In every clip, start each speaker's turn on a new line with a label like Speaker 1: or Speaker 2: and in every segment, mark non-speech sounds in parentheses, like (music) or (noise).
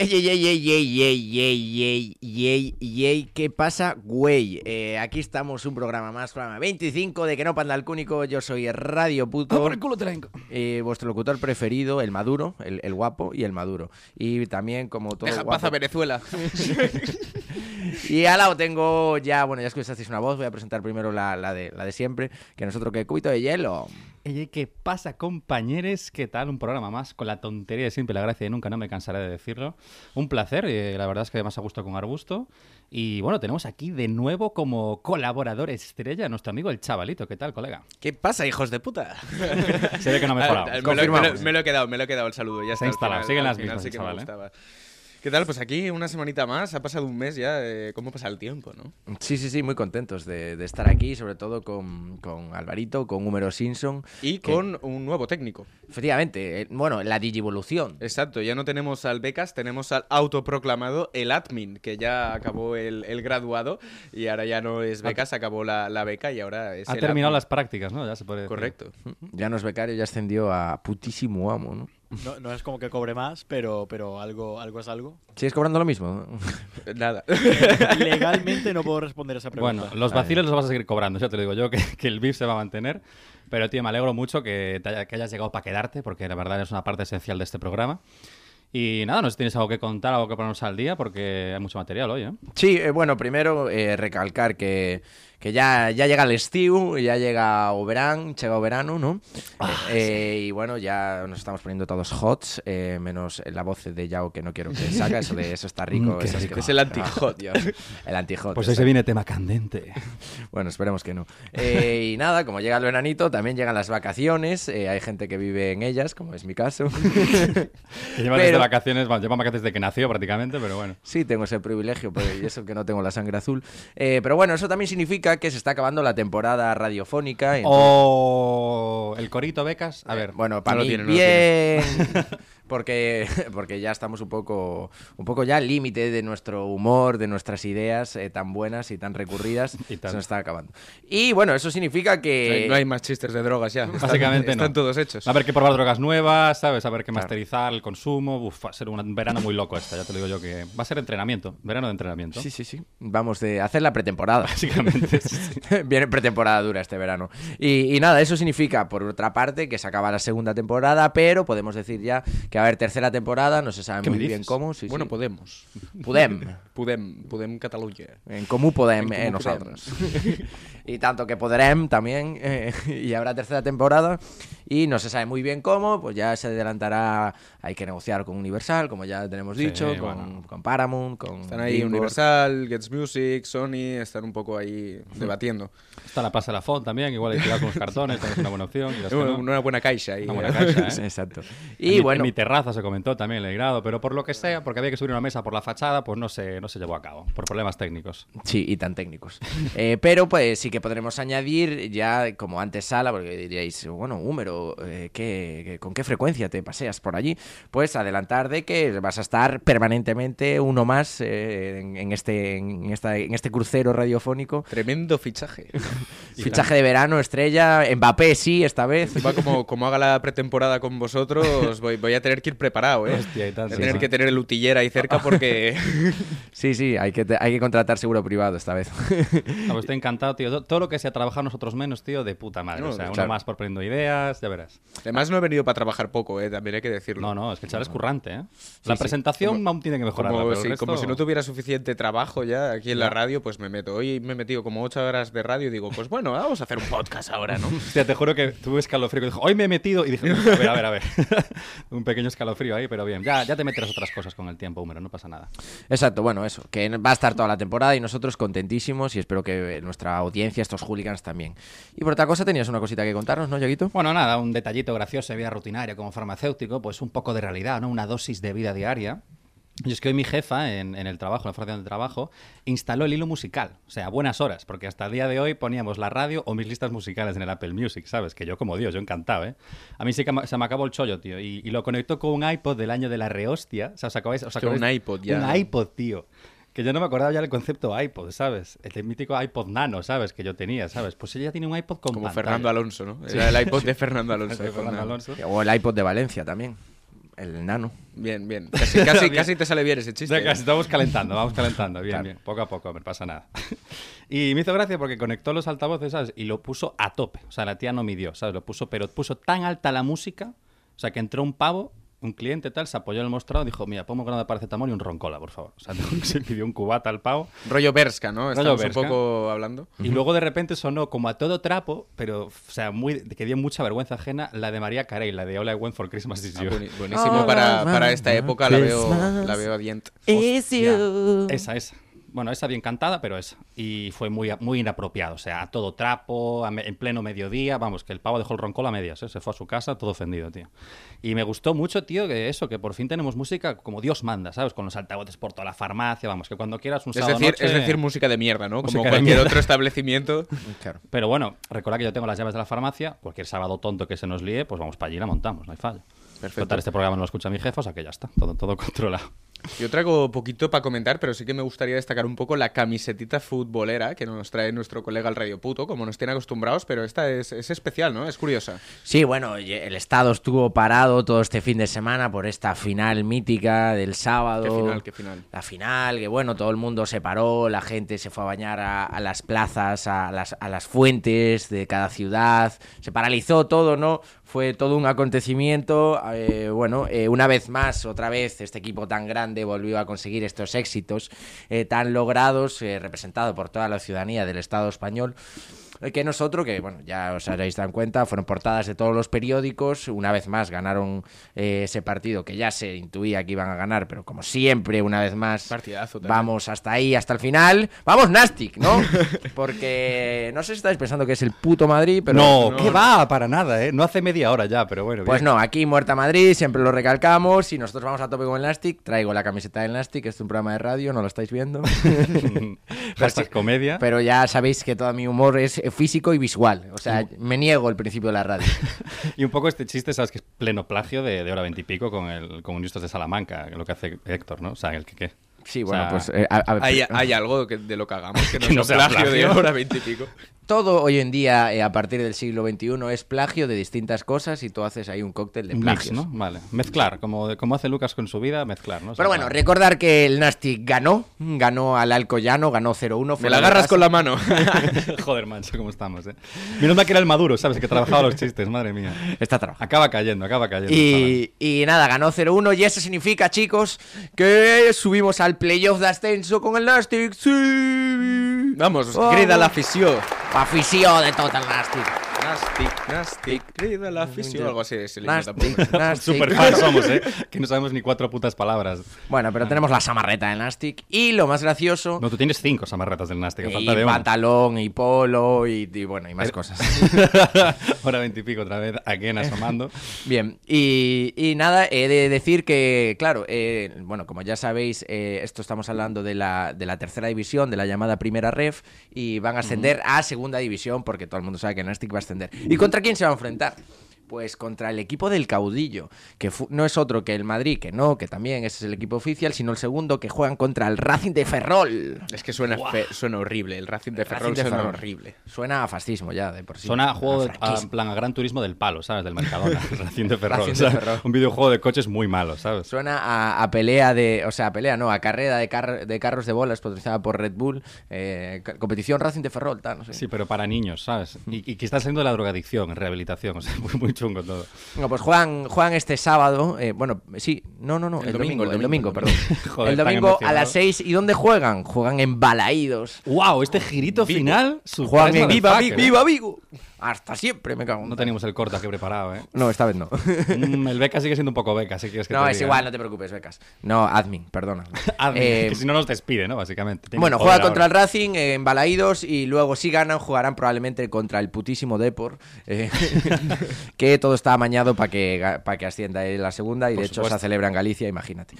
Speaker 1: Ey, ey, ey, ey, ey, ey, ey, ey, ey, ey, ey, ¿qué pasa, güey? Eh, aquí estamos, un programa más, programa 25 de Que no panda el cúnico, yo soy Radio
Speaker 2: Ah,
Speaker 1: Puto,
Speaker 2: por el culo te la enco-
Speaker 1: eh, vuestro locutor preferido, el maduro, el, el guapo y el maduro. Y también, como todo
Speaker 3: Deja en paz
Speaker 1: guapo...
Speaker 3: a Venezuela.
Speaker 1: Y al lado tengo ya, bueno, ya escuchasteis una voz, voy a presentar primero la, la de, la de siempre, que nosotros que Cubito de Hielo.
Speaker 4: Ey, ey, ¿qué pasa, compañeros? ¿Qué tal? Un programa más con la tontería de siempre, la gracia de nunca, no me cansaré de decirlo. Un placer, eh, la verdad es que más a gusto con Arbusto. Y bueno, tenemos aquí de nuevo como colaborador estrella a nuestro amigo el chavalito. ¿Qué tal, colega?
Speaker 3: ¿Qué pasa, hijos de puta?
Speaker 4: Se ve que no ha mejorado.
Speaker 3: me, lo, me lo- me lo he quedado, me lo he quedado el saludo. Ya
Speaker 4: Se
Speaker 3: está,
Speaker 4: ha
Speaker 3: al final-
Speaker 4: instalado, siguen
Speaker 3: al
Speaker 4: las
Speaker 3: final
Speaker 4: mismas,
Speaker 3: sí que me
Speaker 4: chaval, ¿eh?
Speaker 3: gustaba. ¿Qué tal? Pues aquí una semanita más, ha pasado un mes ya, eh, ¿cómo pasa el tiempo, no?
Speaker 1: Sí, sí, sí, muy contentos de, de estar aquí, sobre todo con, con Alvarito, con Húmero Simpson.
Speaker 3: Y
Speaker 1: que-
Speaker 3: con un nuevo técnico.
Speaker 1: Efectivamente, eh, bueno, la digivolución.
Speaker 3: Exacto, ya no tenemos al Becas, tenemos al autoproclamado el admin, que ya acabó el, el graduado y ahora ya no es Becas, acabó la, la beca y ahora es
Speaker 4: Ha
Speaker 3: el
Speaker 4: terminado
Speaker 3: admin.
Speaker 4: las prácticas, ¿no? Ya se puede decir.
Speaker 3: Correcto.
Speaker 1: Ya no es becario, ya ascendió a putísimo amo, ¿no?
Speaker 5: No, no es como que cobre más, pero, pero algo, algo
Speaker 4: (laughs)
Speaker 5: es algo.
Speaker 1: ¿Sigues cobrando lo mismo? (laughs)
Speaker 3: Eh, Nada.
Speaker 5: Legalmente no puedo responder esa pregunta.
Speaker 4: Bueno, los vaciles los vas a seguir cobrando, ya te lo digo yo, (laughs) que, que el VIP se va a mantener. Pero, tío, me alegro mucho que, te haya- que hayas llegado para quedarte, porque la verdad es una parte esencial de este programa. Y nada, no sé si tienes algo que contar, algo que ponernos al día, porque hay mucho material hoy, ¿eh?
Speaker 1: Sí, eh, bueno, primero eh, recalcar que, que ya, ya llega el Stew, ya llega Oberán, llega verano, ¿no? Eh, Y bueno, ya nos estamos poniendo todos hots, eh, menos la voz de Yao que no quiero que saca, eso de eso está rico. (laughs)
Speaker 4: Mm, qué
Speaker 1: eso
Speaker 4: rico.
Speaker 1: que-
Speaker 3: Es el
Speaker 1: (laughs)
Speaker 3: anti-hot.
Speaker 1: Dios, el anti-hot.
Speaker 4: Pues hoy se
Speaker 1: exacto.
Speaker 4: viene tema candente.
Speaker 1: Bueno, esperemos que no. Eh, y nada, como llega el veranito, también llegan las vacaciones. eh, hay gente que vive en ellas, como es mi caso.
Speaker 3: (laughs)
Speaker 4: (laughs) Que lleva
Speaker 1: Pero-
Speaker 4: desde vacaciones, bueno, lleva vacaciones desde que nació prácticamente, pero bueno.
Speaker 1: Sí, tengo ese privilegio, pero y eso que no tengo la sangre azul. Eh, pero bueno, eso también significa que se está acabando la temporada
Speaker 3: Oh,
Speaker 1: radiofónica. y entonces-
Speaker 4: O el corito becas, a ver.
Speaker 1: Eh, bueno, para
Speaker 3: lo
Speaker 1: mí,
Speaker 3: tiene, no lo
Speaker 1: bien. (laughs)
Speaker 3: (laughs)
Speaker 1: Porque, porque ya estamos un poco, un poco ya al límite de nuestro humor, de nuestras ideas eh, tan buenas y tan recurridas.
Speaker 4: Y tan-
Speaker 1: Se nos está acabando. Y bueno, eso significa que.
Speaker 3: No hay más chistes de drogas ya. Están-
Speaker 4: Básicamente no.
Speaker 3: Están todos hechos.
Speaker 4: A ver que probar drogas nuevas, ¿sabes? A ver qué masterizar, el consumo. Uf, va a ser un verano muy loco esta, ya te lo digo yo que. Va a ser entrenamiento, verano de entrenamiento.
Speaker 1: Sí, sí, sí. Vamos de hacer la pretemporada. (laughs)
Speaker 4: Básicamente.
Speaker 1: Viene pretemporada dura este verano. Y, y nada, eso significa, por otra parte, que se acaba la segunda temporada, pero podemos decir ya que va a haber tercera temporada, no se sabe
Speaker 4: ¿Qué me
Speaker 1: muy bien
Speaker 4: dices?
Speaker 1: cómo. sí,
Speaker 3: bueno,
Speaker 1: sí.
Speaker 3: podemos.
Speaker 1: Podem.
Speaker 3: Podem, Podem Cataluña.
Speaker 1: En comú podem,
Speaker 3: En comú
Speaker 1: eh, nosotros. y tanto que podrem también, eh, (laughs) y habrá tercera temporada, y no se sabe muy bien cómo, pues ya se adelantará, hay que negociar con Universal, como ya tenemos
Speaker 4: Sí,
Speaker 1: dicho, con,
Speaker 4: bueno.
Speaker 1: con Paramount, con...
Speaker 3: Están ahí
Speaker 1: DreamWorks.
Speaker 3: Universal, Gets Music, Sony, están un poco
Speaker 4: (laughs)
Speaker 3: ahí debatiendo.
Speaker 4: Está la pasa la font también, igual hay que cuidar con los cartones, también es una buena opción. quizás
Speaker 3: Es (laughs)
Speaker 4: que
Speaker 3: una,
Speaker 4: no.
Speaker 3: una buena caixa ahí.
Speaker 4: Una buena caixa,
Speaker 1: (laughs)
Speaker 4: ¿eh?
Speaker 1: Sí, Exacto.
Speaker 4: En
Speaker 1: Y
Speaker 4: mi-
Speaker 1: bueno...
Speaker 4: en mi terraza se comentó también el grado, pero por lo que sea, porque había que subir una mesa por la fachada, pues no se, no se llevó a cabo, por problemas técnicos.
Speaker 1: (laughs) Sí, y tan técnicos. Eh, pero pues sí que podremos añadir ya como antesala, porque diríais, bueno, Húmero, eh, ¿qué- qué- con qué frecuencia te paseas por allí? Pues adelantar de que vas a estar permanentemente uno más eh, en, en este, en, esta- en este crucero radiofónico.
Speaker 3: Tremendo
Speaker 4: (laughs)
Speaker 3: fichaje.
Speaker 1: Fichaje de verano, estrella, Mbappé sí, esta vez.
Speaker 3: (laughs) Encima, como, como haga la pretemporada con vosotros, voy, voy a tener que ir preparado, ¿eh?
Speaker 4: Hostia, y tal,
Speaker 3: voy a
Speaker 4: sí,
Speaker 3: tener
Speaker 4: sí.
Speaker 3: que tener el utillera ahí cerca
Speaker 4: (laughs)
Speaker 3: porque...
Speaker 1: Sí, sí, hay que, hay que contratar seguro privado esta vez.
Speaker 4: Ah, pues estoy encantado, tío. To- Todo lo que sea trabajar nosotros menos, tío, de puta madre.
Speaker 3: No,
Speaker 4: o sea, uno
Speaker 1: claro.
Speaker 4: más por poniendo ideas, ya verás.
Speaker 3: Además, no he venido para trabajar poco, ¿eh? También hay que decirlo.
Speaker 4: No, no, es que el chaval es currante, ¿eh? La presentación aún tiene que mejorarla,
Speaker 3: Como,
Speaker 4: pero el
Speaker 3: si, como
Speaker 4: resto-
Speaker 3: si no tuviera suficiente trabajo ya aquí en la radio, pues me meto. Hoy me he metido como ocho horas de radio y digo, pues bueno, vamos a hacer un podcast ahora, ¿no?
Speaker 4: (laughs) Hostia, te juro que tuve escalofrío. que Dijo, hoy me he metido. Y dije, a ver, a ver, a ver. (laughs) Un pequeño escalofrío ahí, pero bien. Ya, ya te meterás otras cosas con el tiempo, Húmero, no pasa nada.
Speaker 1: Exacto, bueno, eso, que va a estar toda la temporada y nosotros contentísimos eh, y espero que nuestra audiencia, estos hooligans también. Y por otra cosa, tenías una cosita que contarnos, ¿no, Yaguito?
Speaker 4: Bueno, nada, era un detallito gracioso de vida rutinaria como farmacéutico, pues un poco de realidad, ¿no? Una dosis de vida diaria. Y es que hoy mi jefa, en, en el trabajo, en la fundación de trabajo, instaló el hilo musical. O sea, a buenas horas, porque hasta el día de hoy poníamos la radio o mis listas musicales en el Apple Music, ¿sabes? Que yo, como Dios, yo encantado, ¿eh? A mí sí que me- se me acabó el chollo, tío. Y, y lo conectó con un iPod del año de la rehostia. O sea, os acabáis... Os
Speaker 3: Hostia, un
Speaker 4: acabáis-
Speaker 3: iPod ya.
Speaker 4: Un iPod, tío. Que yo no me acordaba ya del concepto iPod, ¿sabes? El mítico iPod nano, ¿sabes? Que yo tenía, ¿sabes? Pues ella tiene un iPod (laughs) con
Speaker 3: Como
Speaker 4: pantalla.
Speaker 3: Fernando Alonso, ¿no? Era el
Speaker 4: (laughs)
Speaker 3: iPod de Fernando Alonso.
Speaker 4: Fernando
Speaker 3: iPod nano.
Speaker 4: Alonso.
Speaker 1: O el iPod de Valencia también. El nano.
Speaker 3: Bien, bien. Casi, casi, casi te sale bien ese chiste.
Speaker 4: Venga,
Speaker 3: ¿eh?
Speaker 4: estamos calentando, vamos calentando. Bien,
Speaker 1: Claro.
Speaker 4: bien. Poco a poco, me pasa nada. (laughs) Y me hizo gracia porque conectó los altavoces, ¿sabes? Y lo puso a tope. O sea, la tía no midió, ¿sabes? Lo puso, pero puso tan alta la música, o sea, que entró un pavo, un cliente tal, se apoyó en el mostrador, dijo, mira, pongo grano de paracetamol y un roncola, por favor. O sea, (laughs) se pidió un cubata al pavo.
Speaker 3: Rollo Berska, ¿no?
Speaker 4: Rollo
Speaker 3: Estamos
Speaker 4: Berska.
Speaker 3: un poco hablando.
Speaker 4: Y luego de repente sonó como a todo trapo, pero, o sea, muy, que dio mucha vergüenza ajena, la de María Carey, la de All I Want for Christmas is
Speaker 3: Ah,
Speaker 4: You.
Speaker 3: bueni- buenísimo
Speaker 1: All
Speaker 3: para,
Speaker 1: I
Speaker 3: para
Speaker 1: want
Speaker 3: esta
Speaker 1: for
Speaker 3: época. La veo,
Speaker 1: Christmas.
Speaker 3: la veo adient.
Speaker 4: Ya, Esa, esa. Bueno, esa bien cantada, pero esa. Y fue muy, muy inapropiado. O sea, a todo trapo, a me- en pleno mediodía. Vamos, que el pavo dejó el roncol a medias. ¿eh? Se fue a su casa todo ofendido, tío. Y me gustó mucho, tío, que eso, que por fin tenemos música como Dios manda, ¿sabes? Con los altavoces por toda la farmacia. Vamos, que cuando quieras un
Speaker 3: Es
Speaker 4: sábado
Speaker 3: decir,
Speaker 4: noche-
Speaker 3: es decir, música de mierda, ¿no? Como
Speaker 4: Música de
Speaker 3: cualquier
Speaker 4: mierda.
Speaker 3: otro establecimiento.
Speaker 1: Claro.
Speaker 4: Pero bueno, recordad que yo tengo las llaves de la farmacia. Cualquier sábado tonto que se nos líe, pues vamos para allí y la montamos. No hay fallo.
Speaker 3: Perfecto.
Speaker 4: Total, este programa no lo escucha mi jefa, o sea que ya está. Todo, todo (laughs) controlado.
Speaker 3: Yo traigo poquito para comentar, pero sí que me gustaría destacar un poco la camisetita futbolera que nos trae nuestro colega el Radio Puto, como nos tiene acostumbrados, pero esta es, es especial, ¿no? Es curiosa.
Speaker 1: Sí, bueno, y el Estado estuvo parado todo este fin de semana por esta final mítica del sábado.
Speaker 3: Qué final, qué final.
Speaker 1: La final, que bueno, todo el mundo se paró, la gente se fue a bañar a, a las plazas, a las, a las fuentes de cada ciudad, se paralizó todo, ¿no? Fue todo un acontecimiento. eh, bueno, eh, una vez más, otra vez, este equipo tan grande volvió a conseguir estos éxitos eh, tan logrados, eh, representado por toda la ciudadanía del Estado español. Eh, que nosotros, que bueno, ya os habréis dado cuenta, fueron portadas de todos los periódicos, una vez más ganaron eh, ese partido que ya se intuía que iban a ganar, pero como siempre, una vez más,
Speaker 3: Partidazo también.
Speaker 1: vamos hasta ahí, hasta el final, vamos Nastic, ¿no? Porque no sé si estáis pensando que es el puto Madrid, pero...
Speaker 4: no,
Speaker 3: no,
Speaker 4: que
Speaker 3: no.
Speaker 4: va, para nada, ¿eh? No hace media hora ya, pero bueno.
Speaker 1: Pues
Speaker 4: bien.
Speaker 1: no, aquí Muerta Madrid, siempre lo recalcamos, y nosotros vamos a tope con el Nastic, traigo la camiseta del Nastic, es un programa de radio, no lo estáis viendo.
Speaker 4: (laughs) Hashtag comedia.
Speaker 1: Pero ya sabéis que todo mi humor es eh, físico y visual. O sea, me niego el principio de la radio.
Speaker 4: Y un poco este chiste, sabes que es pleno plagio de, de hora veintipico con el con Justos de Salamanca, lo que hace Héctor, ¿no? O sea, el que qué.
Speaker 1: Sí,
Speaker 4: O
Speaker 1: bueno,
Speaker 4: sea,
Speaker 1: pues eh, a- a-
Speaker 3: Hay, hay algo que- de lo que hagamos que no,
Speaker 4: Que no
Speaker 3: sea plagio de
Speaker 4: plagio.
Speaker 3: hora veintipico.
Speaker 1: todo hoy en día, eh, a partir del siglo XXI, es plagio de distintas cosas y tú haces ahí un cóctel de
Speaker 4: un mix,
Speaker 1: plagios.
Speaker 4: ¿no? Vale. Mezclar, como, como hace Lucas con su vida, mezclar, ¿no? O sea,
Speaker 1: Pero bueno,
Speaker 4: vale.
Speaker 1: recordar que el Nasty ganó, ganó al Alcoyano, ganó 0-1.
Speaker 3: Me
Speaker 1: fuera
Speaker 3: la
Speaker 1: de
Speaker 3: agarras
Speaker 1: casa.
Speaker 3: con la mano.
Speaker 4: (laughs) Joder, mancho, cómo estamos, ¿eh? Menos mal que era el Maduro, ¿sabes? Que trabajaba los chistes, madre mía.
Speaker 1: Está trabajando.
Speaker 4: Acaba cayendo, acaba cayendo. chaval.
Speaker 1: Y, y nada, ganó 0-1 y eso significa, chicos, que subimos al playoff de ascenso con el Nastic. ¡Sí!
Speaker 3: Vamos,
Speaker 1: Vamos.
Speaker 3: grida la afición.
Speaker 1: Afición de Total Nastic.
Speaker 3: Nastic, nastic, grida la afición. Algo así es el himno tampoco.
Speaker 1: Nastic,
Speaker 4: (laughs)
Speaker 1: Nastic.
Speaker 4: Super fans somos, ¿eh? Que no sabemos ni cuatro putas palabras.
Speaker 1: Bueno, pero tenemos la samarreta del Nastic y lo más gracioso...
Speaker 4: No, tú tienes cinco samarretas del Nasty, que falta de
Speaker 1: y
Speaker 4: una.
Speaker 1: pantalón y polo y, y bueno, y más cosas. (laughs)
Speaker 4: (laughs) Hora veintipico otra vez, aquí en asomando.
Speaker 1: Bien, y, y nada, he de decir que, claro, eh, bueno, como ya sabéis, eh, esto estamos hablando de la, de la tercera división, de la llamada primera ref, y van a ascender a segunda división, porque todo el mundo sabe que Nastic va a ascender. ¿Y contra quién se va a enfrentar? Pues contra el equipo del caudillo, que fu- no es otro que el Madrid, que no, que también ese es el equipo oficial, sino el segundo que juegan contra el Racing de Ferrol.
Speaker 3: Es que suena, fe- suena horrible. El Racing de Ferrol
Speaker 1: Racing de
Speaker 3: suena
Speaker 1: Ferrol.
Speaker 3: horrible.
Speaker 1: Suena a fascismo ya, de por sí.
Speaker 4: Suena a juego, de- a,
Speaker 1: franquismo.
Speaker 4: en plan, a gran turismo del palo, ¿sabes? Del
Speaker 1: (laughs)
Speaker 4: Mercadona, el Racing de Ferrol.
Speaker 1: Racing
Speaker 4: o sea,
Speaker 1: de Ferrol.
Speaker 4: Un videojuego de coches muy malo, ¿sabes?
Speaker 1: Suena a, a pelea de, o sea, a pelea, no, a carrera de, car- de carros de bolas patrocinada por Red Bull, eh, ca- competición Racing de Ferrol, tal, no sé.
Speaker 4: Sí, pero para niños, ¿sabes? Y, y que está saliendo de la drogadicción, rehabilitación, (laughs) o sea, muy, muy chungo todo.
Speaker 1: Bueno, pues juegan, juegan este sábado, eh, bueno, sí, no, no, no, el,
Speaker 3: El
Speaker 1: domingo,
Speaker 3: domingo,
Speaker 1: el domingo,
Speaker 3: domingo,
Speaker 1: perdón.
Speaker 4: (laughs) Joder,
Speaker 1: el
Speaker 4: tan
Speaker 1: domingo a
Speaker 4: emocionado.
Speaker 1: las 6, ¿y dónde juegan? Juegan en Balaídos.
Speaker 4: ¡Wow! Este girito final. surprise
Speaker 1: Juegan en
Speaker 4: motherfucker.
Speaker 1: viva Vigo. Hasta siempre, me cago en
Speaker 4: No
Speaker 1: tal.
Speaker 4: teníamos el corta que
Speaker 1: (laughs)
Speaker 4: preparado, ¿eh?
Speaker 1: No, esta vez
Speaker 4: (laughs)
Speaker 1: no.
Speaker 4: Mm, el beca sigue siendo un poco beca, si quieres que
Speaker 1: No,
Speaker 4: te
Speaker 1: es
Speaker 4: diga.
Speaker 1: igual, no te preocupes, becas. No, admin, perdona.
Speaker 4: (laughs) Admin,
Speaker 1: Eh,
Speaker 4: que si no nos despide, ¿no? Básicamente. Tiene
Speaker 1: Bueno,
Speaker 4: que joder
Speaker 1: juega contra el
Speaker 4: ahora.
Speaker 1: Racing eh, en Balaídos y luego si ganan jugarán probablemente contra el putísimo Depor, eh, que todo está amañado para que, ga- pa' que ascienda él la segunda y
Speaker 4: Por
Speaker 1: de hecho
Speaker 4: supuesto.
Speaker 1: se celebra en Galicia, imagínate.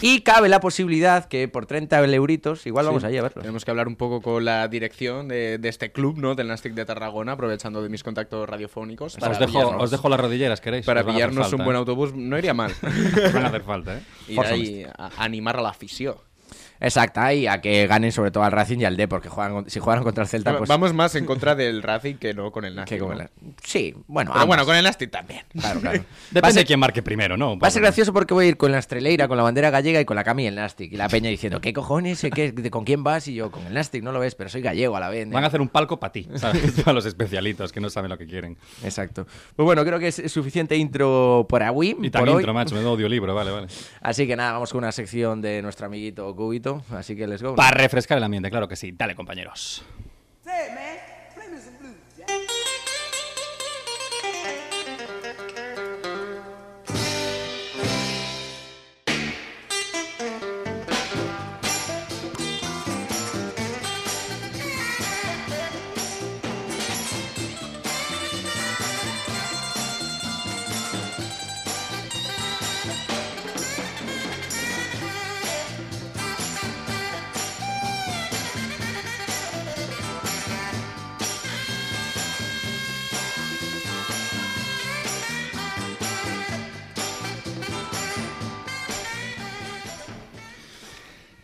Speaker 1: Y cabe la posibilidad que por 30 euritos, igual vamos allí a verlo.
Speaker 3: Tenemos que hablar un poco con la dirección de, de este club, ¿no? Del Nastic de Tarragona, aprovechando de mis contactos radiofónicos.
Speaker 4: Os dejo,
Speaker 3: pillarnos-
Speaker 4: os dejo las rodilleras, ¿queréis?
Speaker 3: para
Speaker 4: Os van a hacer
Speaker 3: pillarnos un
Speaker 4: falta,
Speaker 3: buen
Speaker 4: ¿eh?
Speaker 3: autobús no
Speaker 1: (laughs)
Speaker 3: iría mal.
Speaker 4: (laughs) Os van a hacer falta, ¿eh?
Speaker 3: y
Speaker 4: Força
Speaker 3: ahí a- animar a la afición.
Speaker 1: Exacta, y a que ganen sobre todo al Racing y al Depor, que juegan, con- si jugaron contra el Celta, pues...
Speaker 3: Vamos más en contra del Racing que no con el Nastic.
Speaker 1: que con
Speaker 3: ¿no?
Speaker 1: el- Sí, bueno,
Speaker 3: Pero bueno,
Speaker 1: ambos.
Speaker 3: con el Nastic
Speaker 1: (laughs)
Speaker 3: también.
Speaker 1: Claro, claro. Va a
Speaker 4: Depende
Speaker 1: ser-
Speaker 4: de quién marque primero, ¿no? Un
Speaker 1: Va a
Speaker 4: poco,
Speaker 1: ser
Speaker 4: ¿no?
Speaker 1: gracioso porque voy a ir con la estreleira, con la bandera gallega y con la cami y el Nastic. Y la peña diciendo, ¿qué cojones? Eh, ¿Qué, de- ¿Con quién vas? Y yo, con el Nastic, no lo ves, pero soy gallego a la vez. ¿eh?".
Speaker 4: Van a hacer un palco para ti, ¿sabes? (laughs) Para los especialitos que no saben lo que quieren.
Speaker 1: Exacto. Pues bueno, creo que es suficiente intro por hoy.
Speaker 4: Y
Speaker 1: por
Speaker 4: también
Speaker 1: hoy.
Speaker 4: intro, macho, menudo audiolibro, vale, vale.
Speaker 1: Así que nada, vamos con una sección de nuestro amiguito Cubito. Así que let's go. ¿no?
Speaker 4: Para refrescar el ambiente, claro que sí. Dale, compañeros.
Speaker 2: Say it, man. Play me some blues, Jack.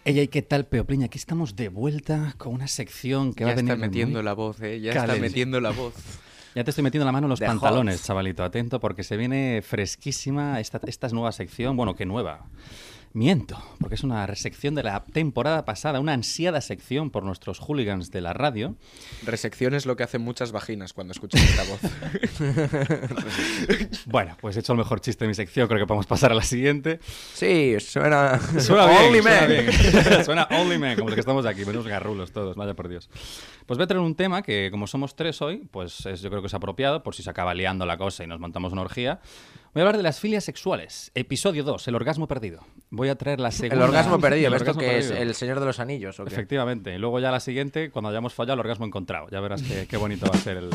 Speaker 4: Ella, ¿y qué tal, Peopliña? Aquí estamos de vuelta con una sección que
Speaker 3: Ya
Speaker 4: va a venir
Speaker 3: está
Speaker 4: muy-
Speaker 3: metiendo la voz, ¿eh? Ya
Speaker 4: caliente.
Speaker 3: está metiendo la voz.
Speaker 4: Ya te estoy metiendo la mano en los
Speaker 1: The
Speaker 4: pantalones,
Speaker 1: Hot.
Speaker 4: chavalito. Atento, porque se viene fresquísima esta, esta nueva sección. Bueno, qué nueva. Miento, porque es una sección de la temporada pasada, una ansiada sección por nuestros hooligans de la (laughs) radio.
Speaker 3: Resección es lo que hacen muchas vaginas cuando escuchan esta
Speaker 1: (laughs)
Speaker 3: voz.
Speaker 4: Bueno, pues he hecho el mejor chiste de mi sección, creo que podemos pasar a la siguiente.
Speaker 1: Sí, suena.
Speaker 4: (laughs)
Speaker 1: (laughs)
Speaker 4: Suena bien,
Speaker 1: Only
Speaker 4: suena
Speaker 1: man.
Speaker 4: bien. (laughs) Suena Only Man, como los que estamos aquí, menos garrulos todos, vaya por Dios. Pues voy a traer un tema que, como somos tres hoy, pues es- yo creo que es apropiado, por si se acaba liando la cosa y nos montamos una orgía. Voy a hablar de las filias sexuales, episodio 2, el orgasmo perdido. Voy a traer la segunda...
Speaker 1: (laughs) El orgasmo perdido,
Speaker 4: (laughs) El
Speaker 1: ¿esto
Speaker 4: orgasmo
Speaker 1: que es?
Speaker 4: perdido.
Speaker 1: El señor de los anillos. ¿o qué?
Speaker 4: Efectivamente. Y luego ya la siguiente, cuando hayamos fallado, el orgasmo encontrado. Ya verás qué, qué bonito va a ser el,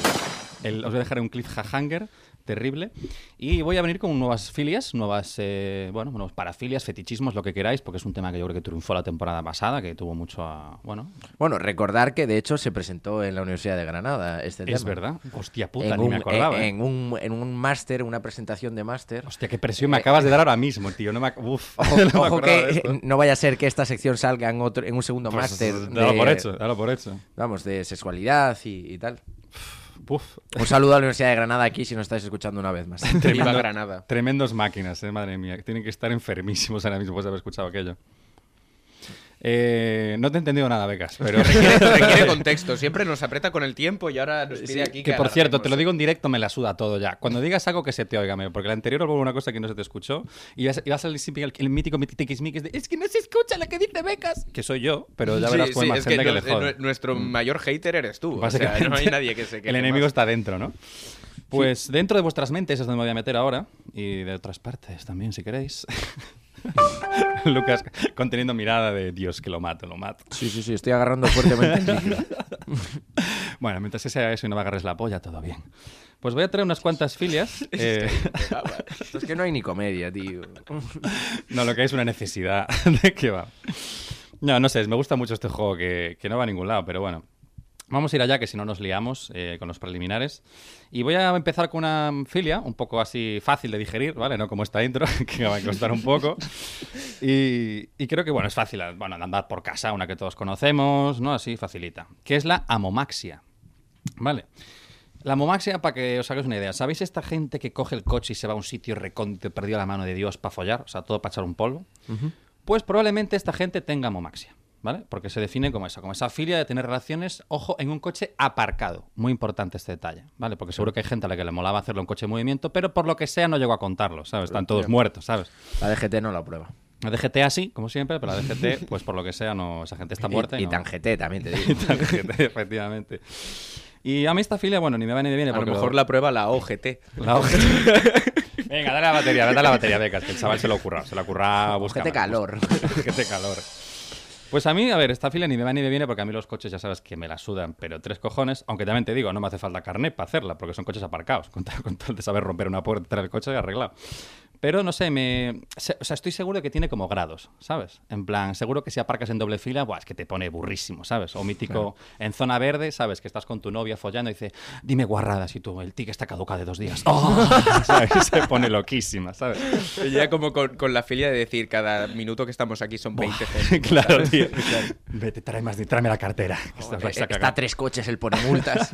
Speaker 4: el- Os voy a dejar un cliffhanger terrible. Y voy a venir con nuevas filias, nuevas, eh, bueno, nuevos parafilias, fetichismos, lo que queráis, porque es un tema que yo creo que triunfó la temporada pasada, que tuvo mucho... a- bueno,
Speaker 1: Bueno, recordar que de hecho se presentó en la Universidad de Granada este
Speaker 4: es
Speaker 1: tema.
Speaker 4: verdad. Hostia puta,
Speaker 1: en,
Speaker 4: ni
Speaker 1: un,
Speaker 4: me acordaba.
Speaker 1: en,
Speaker 4: ¿eh?
Speaker 1: en un, en un máster, una presentación de máster.
Speaker 4: Hostia, qué presión me acabas de dar ahora mismo, tío. No me, ac- uf,
Speaker 1: Ojo,
Speaker 4: (laughs) no me
Speaker 1: ojo
Speaker 4: acordaba de
Speaker 1: que
Speaker 4: esto.
Speaker 1: eh, no vaya a ser que esta sección salga en, otro, en un segundo
Speaker 4: Pues,
Speaker 1: máster
Speaker 4: dalo
Speaker 1: de-
Speaker 4: por hecho, dalo por hecho.
Speaker 1: Vamos, de sexualidad y, y tal.
Speaker 4: Uf,
Speaker 1: Un saludo a la Universidad de Granada aquí si nos estáis escuchando una
Speaker 4: (laughs)
Speaker 1: vez más.
Speaker 3: Viva
Speaker 4: Tremendo.
Speaker 3: Granada.
Speaker 4: Tremendos máquinas, eh, madre mía. Tienen que estar enfermísimos ahora mismo después de haber escuchado aquello. Eh, no te he entendido nada, Becas,
Speaker 3: (laughs)
Speaker 4: pero... (laughs)
Speaker 3: Requiere, requiere contexto, siempre nos aprieta con el tiempo y ahora nos pide aquí.
Speaker 4: que por cierto, te lo digo en directo, me la suda todo ya. Cuando digas algo que se te oiga, me- porque la anterior hubo una cosa que no se te escuchó y vas, y vas a salir siempre el, el mítico mitiquismiquis de es que no se escucha lo que dice Becas, que soy yo, pero ya verás
Speaker 3: Sí,
Speaker 4: con
Speaker 3: sí,
Speaker 4: más
Speaker 3: es que
Speaker 4: gente que,
Speaker 3: no-
Speaker 4: le
Speaker 3: eh,
Speaker 4: jode. Mm.
Speaker 3: nu- nuestro mayor hater eres tú. O sea,
Speaker 4: Básicamente,
Speaker 3: no
Speaker 4: (laughs)
Speaker 3: hay nadie que se queje
Speaker 4: El enemigo
Speaker 3: más.
Speaker 4: está dentro, ¿no? Pues dentro de vuestras mentes es donde me voy a meter ahora y de otras partes también, si queréis. (laughs) Lucas conteniendo mirada de Dios que lo mato, lo mato.
Speaker 1: Sí, sí, sí, estoy agarrando
Speaker 4: (laughs)
Speaker 1: fuertemente.
Speaker 4: Bueno, mientras que sea eso y no me agarres la polla, todo bien. Pues voy a traer unas
Speaker 3: (laughs)
Speaker 4: cuantas filias. eh,
Speaker 1: es que no hay ni comedia, tío.
Speaker 4: no, lo que es una necesidad (laughs) de que va. No, no sé, me gusta mucho este juego que, que no va a ningún lado, pero bueno. Vamos a ir allá, que si no nos liamos eh, con los preliminares. Y voy a empezar con una filia, un poco así fácil de digerir, ¿vale? No como esta intro, (laughs) que va a costar un poco. Y, y creo que, bueno, es fácil, bueno, de andar por casa, una que todos conocemos, ¿no? Así facilita. Que es la amomaxia, ¿vale? La amomaxia, para que os hagáis una idea, ¿sabéis esta gente que coge el coche y se va a un sitio recóndito y perdió la mano de Dios para follar? O sea, todo para echar un polvo. Pues probablemente esta gente tenga amomaxia, ¿vale? Porque se define como eso, como esa filia de tener relaciones, ojo, en un coche aparcado. Muy importante este detalle, ¿vale? Porque seguro que hay gente a la que le molaba hacerlo en coche en movimiento, pero por lo que sea no llegó a contarlo, ¿sabes? Están todos muertos, ¿sabes?
Speaker 1: La DGT no la prueba.
Speaker 4: La DGT así, como siempre, pero la DGT, (laughs) pues por lo que sea, no, esa gente está muerta.
Speaker 1: y, y
Speaker 4: no-
Speaker 1: tan GT también te digo.
Speaker 4: Tarjeta, efectivamente. Y a mí esta fila, bueno, ni me va ni me viene.
Speaker 3: A lo
Speaker 4: porque
Speaker 3: mejor la prueba la OGT.
Speaker 4: (laughs) la hoja- Venga, dale la batería, dale la batería, becas, que el chaval se lo curra, se lo curra buscando.
Speaker 1: Ojete calor.
Speaker 4: Ojete calor. (laughs) Pues a mí, a ver, esta fila ni me va ni me viene porque a mí los coches ya sabes que me la sudan, pero tres cojones, aunque también te digo, no me hace falta carnet para hacerla porque son coches aparcados, (laughs) con tal, con tal de saber romper una puerta detrás del coche y arreglado. Pero no sé, me. se- O sea, estoy seguro que tiene como grados, ¿sabes? En plan, seguro que si aparcas en doble fila, buah, es que te pone burrísimo, ¿sabes? O mítico en zona verde, ¿sabes? Que estás con tu novia follando y dice, dime guarradas y tú, el ticket está caduca de dos días. (laughs) ¡Oh! ¿Sabes? Se pone loquísima, ¿sabes?
Speaker 3: Ya como con, con la filia de decir cada minuto que estamos aquí son 20 (laughs) céntimos.
Speaker 4: (laughs) Claro,
Speaker 3: ¿sabes?
Speaker 4: tío. Vete, trae más, tráeme la cartera. que os vais a
Speaker 1: eh, Está
Speaker 4: cagar.
Speaker 1: a tres coches el pone
Speaker 4: (laughs)
Speaker 1: multas.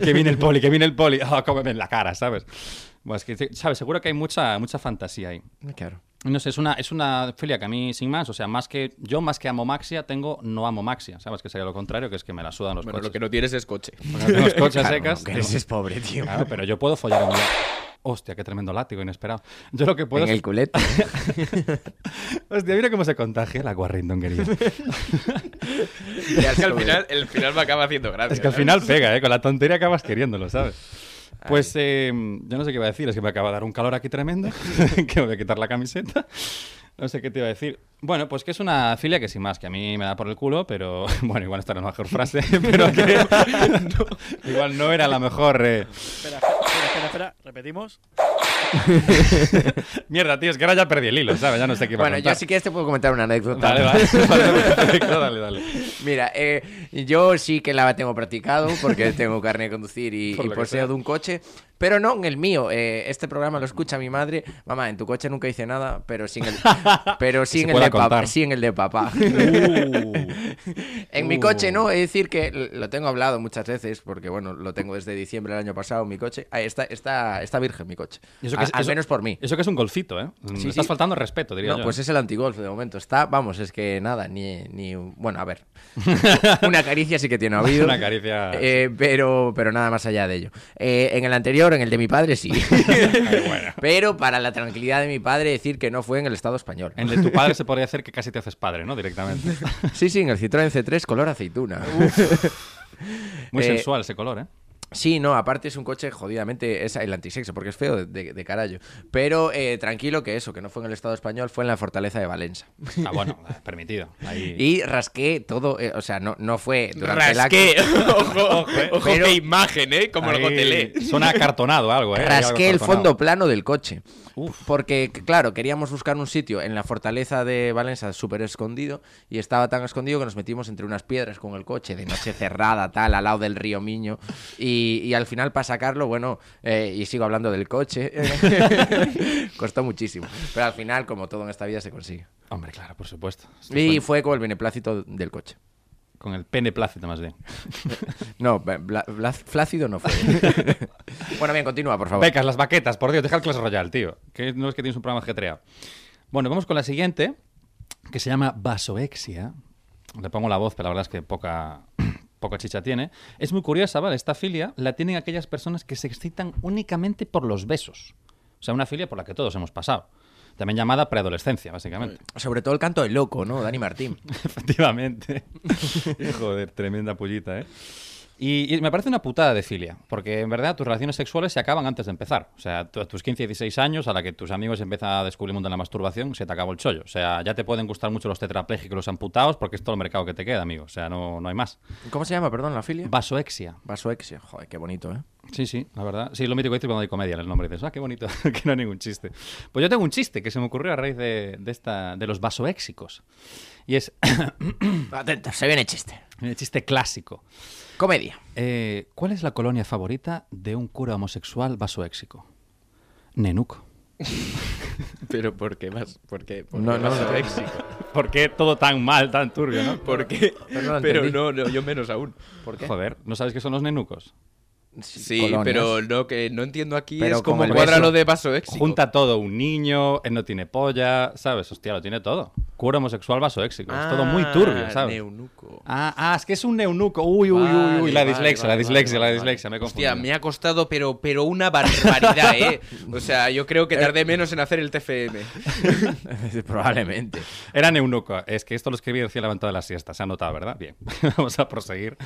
Speaker 4: que viene el poli, que viene el poli. Ah, cómeme en la cara, ¿sabes? Bueno, es que, ¿sabes? Seguro que hay mucha, mucha fantasía ahí.
Speaker 1: claro.
Speaker 4: No sé, es una, es una filia que a mí, sin más, o sea, más que yo más que amo Maxia, tengo no amo Maxia, ¿sabes? Que sería lo contrario, que es que me la sudan los
Speaker 3: Bueno, lo
Speaker 4: coches.
Speaker 3: que no tienes es coche. (laughs)
Speaker 4: Porque (laughs) no tengo los coches
Speaker 1: Claro,
Speaker 4: secas.
Speaker 1: no, que
Speaker 4: tengo-
Speaker 1: eres pobre, tío.
Speaker 4: Claro, pero yo puedo follar a un... Hostia, qué tremendo látigo inesperado. Yo lo que puedo
Speaker 1: En
Speaker 4: es-
Speaker 1: el culete.
Speaker 4: (laughs) Hostia, mira cómo se contagia la guarrindonguería.
Speaker 3: Es que al final, el final me acaba haciendo gracia.
Speaker 4: pues, Es que al
Speaker 3: ¿sabes?
Speaker 4: final pega, ¿eh? Con la tontería acabas queriéndolo, ¿sabes? Pues eh, yo no sé qué iba a decir, es que me acaba de dar un calor
Speaker 1: (laughs)
Speaker 4: aquí tremendo, (laughs) que me voy a quitar la camiseta. No sé qué te iba a decir. Bueno, pues que es una filia que sin más, que a mí me da por el culo, pero (laughs) bueno, igual esta no es la mejor frase, (laughs) pero que no, igual no era la mejor... eh,
Speaker 5: Espera, espera, espera, espera. repetimos.
Speaker 4: Mierda, tío, es que ahora ya perdí el hilo, ¿sabes? Ya no sé (laughs) qué iba
Speaker 1: Bueno,
Speaker 4: a
Speaker 1: yo
Speaker 4: contar.
Speaker 1: sí que te puedo comentar una anécdota.
Speaker 4: Vale, vale, (laughs) vale, perfecto, dale, dale.
Speaker 1: (laughs) Mira, eh, yo sí que la tengo practicado
Speaker 4: (laughs)
Speaker 1: porque tengo carne de conducir y,
Speaker 4: Por
Speaker 1: y
Speaker 4: lo que sea.
Speaker 1: poseo de un coche, pero no en el mío. Eh, este programa lo escucha mi madre. Mamá, en tu coche nunca hice nada, pero
Speaker 4: (laughs)
Speaker 1: sin el, pero sí
Speaker 4: se
Speaker 1: en el
Speaker 4: pueda
Speaker 1: de papá.
Speaker 4: contar.
Speaker 1: Sí en el de
Speaker 4: (laughs)
Speaker 1: papá. En mi
Speaker 4: Uh.
Speaker 1: coche no, es decir que l- lo tengo hablado muchas veces, porque bueno, lo tengo desde diciembre del año pasado, mi coche. Ah, está, está, está virgen mi coche.
Speaker 4: Y eso
Speaker 1: A-
Speaker 4: que es-
Speaker 1: al
Speaker 4: eso-
Speaker 1: menos por mí.
Speaker 4: Eso que es un golfito, ¿eh? Me
Speaker 1: Sí,
Speaker 4: estás
Speaker 1: sí.
Speaker 4: faltando respeto, diría
Speaker 1: No,
Speaker 4: yo.
Speaker 1: pues es el antigolf de momento. Está, vamos, es que nada, ni, ni un- bueno, a
Speaker 4: (laughs)
Speaker 1: ver. Una caricia sí que tiene ha habido.
Speaker 4: Una caricia,
Speaker 1: Eh, pero, pero nada más allá de ello. Eh, en el anterior, en el de mi padre,
Speaker 4: (laughs)
Speaker 1: sí. Pero para la tranquilidad de mi padre, decir que no fue en el Estado español.
Speaker 4: En el de tu padre se podría hacer que casi te haces padre, ¿no? Directamente.
Speaker 1: (laughs) Sí, sí, en el Citroën C3 color aceituna.
Speaker 4: Muy
Speaker 1: Eh,
Speaker 4: sensual ese color, ¿eh?
Speaker 1: Sí, no, aparte es un coche jodidamente, es el antisexo, porque es feo de, de- de carallo. Pero eh, tranquilo que eso, que no fue en el Estado español, fue en la fortaleza de Valencia.
Speaker 4: Ah, bueno, (laughs) permitido. Ahí...
Speaker 1: Y rasqué todo, eh, o sea, no, no fue durante el acto.
Speaker 3: Rasqué.
Speaker 4: (laughs)
Speaker 3: (laughs) ojo, ojo
Speaker 1: Pero-
Speaker 3: qué imagen, ¿eh? Como
Speaker 4: eh, ahí
Speaker 3: lo
Speaker 4: (laughs)
Speaker 3: gotelé.
Speaker 4: Suena acartonado algo, ¿eh? Hay algo
Speaker 1: Rasqué el
Speaker 4: acartonado.
Speaker 1: fondo plano del coche.
Speaker 4: Uf.
Speaker 1: Porque, c- claro, queríamos buscar un sitio en la fortaleza de Valencia súper escondido y estaba tan escondido que nos metimos entre unas piedras con el coche de noche cerrada, tal, al lado del río Miño. Y, y al final, para sacarlo, bueno, eh, y sigo hablando del coche, costó muchísimo. Pero al final, como todo en esta vida, se consigue.
Speaker 4: Hombre, claro, por supuesto. Esto
Speaker 1: Y
Speaker 4: fue
Speaker 1: fue como el beneplácito del coche.
Speaker 4: Con el pene plácido, más bien.
Speaker 1: No, bla- bla- flácido no fue. bueno, bien, continúa, por favor.
Speaker 4: Becas, las baquetas, por Dios, deja el Clash Royale, tío. Que no es que tienes un programa ajetreado. Bueno, vamos con la siguiente, que se llama Vasoexia. Le pongo la voz, pero la verdad es que poca, (clears throat) poca chicha tiene. Es muy curiosa, ¿vale? Esta filia la tienen aquellas personas que se excitan únicamente por los besos. O sea, una filia por la que todos hemos pasado. También llamada preadolescencia, básicamente.
Speaker 1: Sobre todo el canto del loco, ¿no? Dani Martín.
Speaker 4: Efectivamente. (laughs) Joder, tremenda pullita, ¿eh? Y, y me parece una putada de filia, porque en verdad tus relaciones sexuales se acaban antes de empezar. O sea, tú a tus 15, 16 años, a la que tus amigos empiezan a descubrir el mundo de la masturbación, se te acabó el chollo. O sea, ya te pueden gustar mucho los tetrapléjicos, los amputados, porque es todo el mercado que te queda, amigo. O sea, no, no hay más.
Speaker 1: ¿Cómo se llama, perdón, la filia?
Speaker 4: Vasoexia.
Speaker 1: Vasoexia. Joder, qué bonito, ¿eh?
Speaker 4: Sí, sí, la verdad. Sí, lo mítico que dices cuando hay comedia en el nombre. Dices, ah, qué bonito, (laughs) que no hay ningún chiste. Pues yo tengo un chiste que se me ocurrió a raíz de, de esta, de los vasoéxicos. Y es (clears throat)
Speaker 1: Atento, se viene chiste.
Speaker 4: el chiste clásico.
Speaker 1: Comedia.
Speaker 4: Eh, ¿Cuál es la colonia favorita de un cura homosexual vasoéxico? Nenuco.
Speaker 3: Pero ¿por qué vas? ¿Por qué? ¿Por
Speaker 1: No,
Speaker 3: qué
Speaker 1: no,
Speaker 3: vas a
Speaker 1: no.
Speaker 3: México?
Speaker 4: ¿Por qué todo tan mal, tan turbio, no?
Speaker 3: ¿Por qué?
Speaker 1: Pero no lo
Speaker 3: Pero
Speaker 1: entendí.
Speaker 3: no, no, yo menos aún.
Speaker 1: ¿Por qué?
Speaker 4: Joder, ¿no sabes qué son los nenucos?
Speaker 3: Sí,
Speaker 1: Colonias.
Speaker 3: pero lo que no entiendo aquí
Speaker 1: Pero
Speaker 3: es
Speaker 1: como
Speaker 3: cómo
Speaker 1: el
Speaker 3: cuadra
Speaker 1: beso.
Speaker 3: lo de vaso éxito.
Speaker 4: Junta todo, un niño, él no tiene polla, ¿sabes? Hostia, lo tiene todo. Cura homosexual vasoéxico. es todo
Speaker 3: Ah,
Speaker 4: muy turbio, ¿sabes?
Speaker 3: Neunuco.
Speaker 4: Ah, ah, es que es un neunuco. Uy, uy, uy, uy.
Speaker 3: Vale,
Speaker 4: La
Speaker 3: vale,
Speaker 4: dislexia, la
Speaker 3: vale,
Speaker 4: dislexia,
Speaker 3: vale,
Speaker 4: la
Speaker 3: vale.
Speaker 4: dislexia. Me he
Speaker 3: Hostia,
Speaker 4: confundido.
Speaker 3: me ha costado, pero, pero una barbaridad, ¿eh? O sea, yo creo que
Speaker 4: Eh,
Speaker 3: tardé menos en hacer el
Speaker 4: (laughs)
Speaker 3: TFM.
Speaker 1: (laughs) Probablemente.
Speaker 4: Era neunuco. Es que (laughs) esto lo escribí recién levantado de la siesta. Se ha notado, ¿verdad? Bien. Vamos a proseguir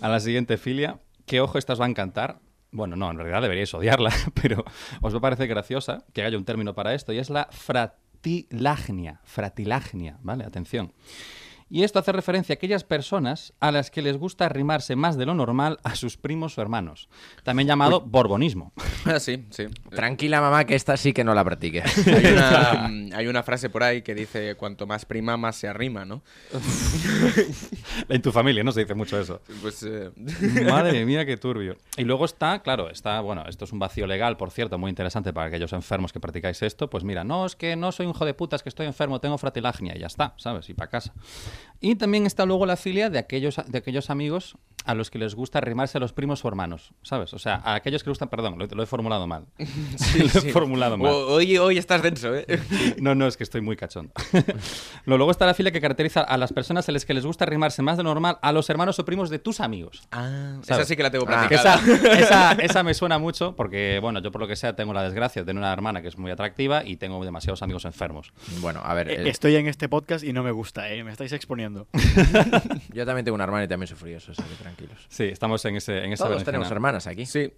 Speaker 4: a la siguiente filia, que ojo, esta os va a encantar. Bueno, no, en realidad deberíais odiarla, (laughs) pero os va a parecer graciosa que haya un término para esto, y es la fratilagnia. Fratilagnia, ¿vale? Atención. Y esto hace referencia a aquellas personas a las que les gusta arrimarse más de lo normal a sus primos o hermanos, también llamado borbonismo.
Speaker 3: Ah, sí, sí.
Speaker 1: Tranquila, mamá, que esta sí que no la
Speaker 3: (laughs)
Speaker 1: practique.
Speaker 3: Hay
Speaker 4: (laughs)
Speaker 3: una, mm, hay una frase por ahí que dice, cuanto más prima, más se arrima, ¿no?
Speaker 4: En tu familia no se dice mucho eso.
Speaker 3: Pues... eh, (laughs)
Speaker 4: Madre mía, qué turbio. Y luego está, claro, está, bueno, esto es un vacío legal, por cierto, muy interesante para aquellos enfermos que practicáis esto. Pues mira, no, es que no soy un hijo de puta, es que estoy enfermo, tengo fratilagnia y ya está, ¿sabes? Y para casa. Y también está luego la filia de aquellos, de aquellos amigos a los que les gusta arrimarse a los primos o hermanos, ¿sabes? O sea, a aquellos que les gustan, perdón, lo, lo he formulado mal. (laughs) lo he formulado mal.
Speaker 3: O- Hoy, hoy estás denso, ¿eh?
Speaker 4: No, no, es que estoy muy cachondo. (laughs) Lo- Luego está la fila que caracteriza a las personas a las que les gusta arrimarse más de lo normal a los hermanos o primos de tus amigos.
Speaker 3: Ah, esa
Speaker 4: ¿sabes?
Speaker 3: sí que la tengo
Speaker 1: (laughs) Ah, (laughs)
Speaker 4: Que
Speaker 3: practicada.
Speaker 4: esa, esa- esa me suena mucho porque, bueno, yo por lo que sea tengo la desgracia de tener una hermana que es muy atractiva y tengo demasiados amigos enfermos.
Speaker 1: Bueno, a ver,
Speaker 5: Eh,
Speaker 1: eh,
Speaker 5: Estoy en este podcast y no me gusta, ¿eh? Me
Speaker 4: (laughs)
Speaker 5: estáis exponiendo.
Speaker 1: yo también tengo una hermana y también sufrí eso, así que tranquilos.
Speaker 4: Sí, estamos en, ese, en esa
Speaker 1: Todos
Speaker 4: berenjena.
Speaker 1: tenemos hermanas aquí.
Speaker 3: Sí,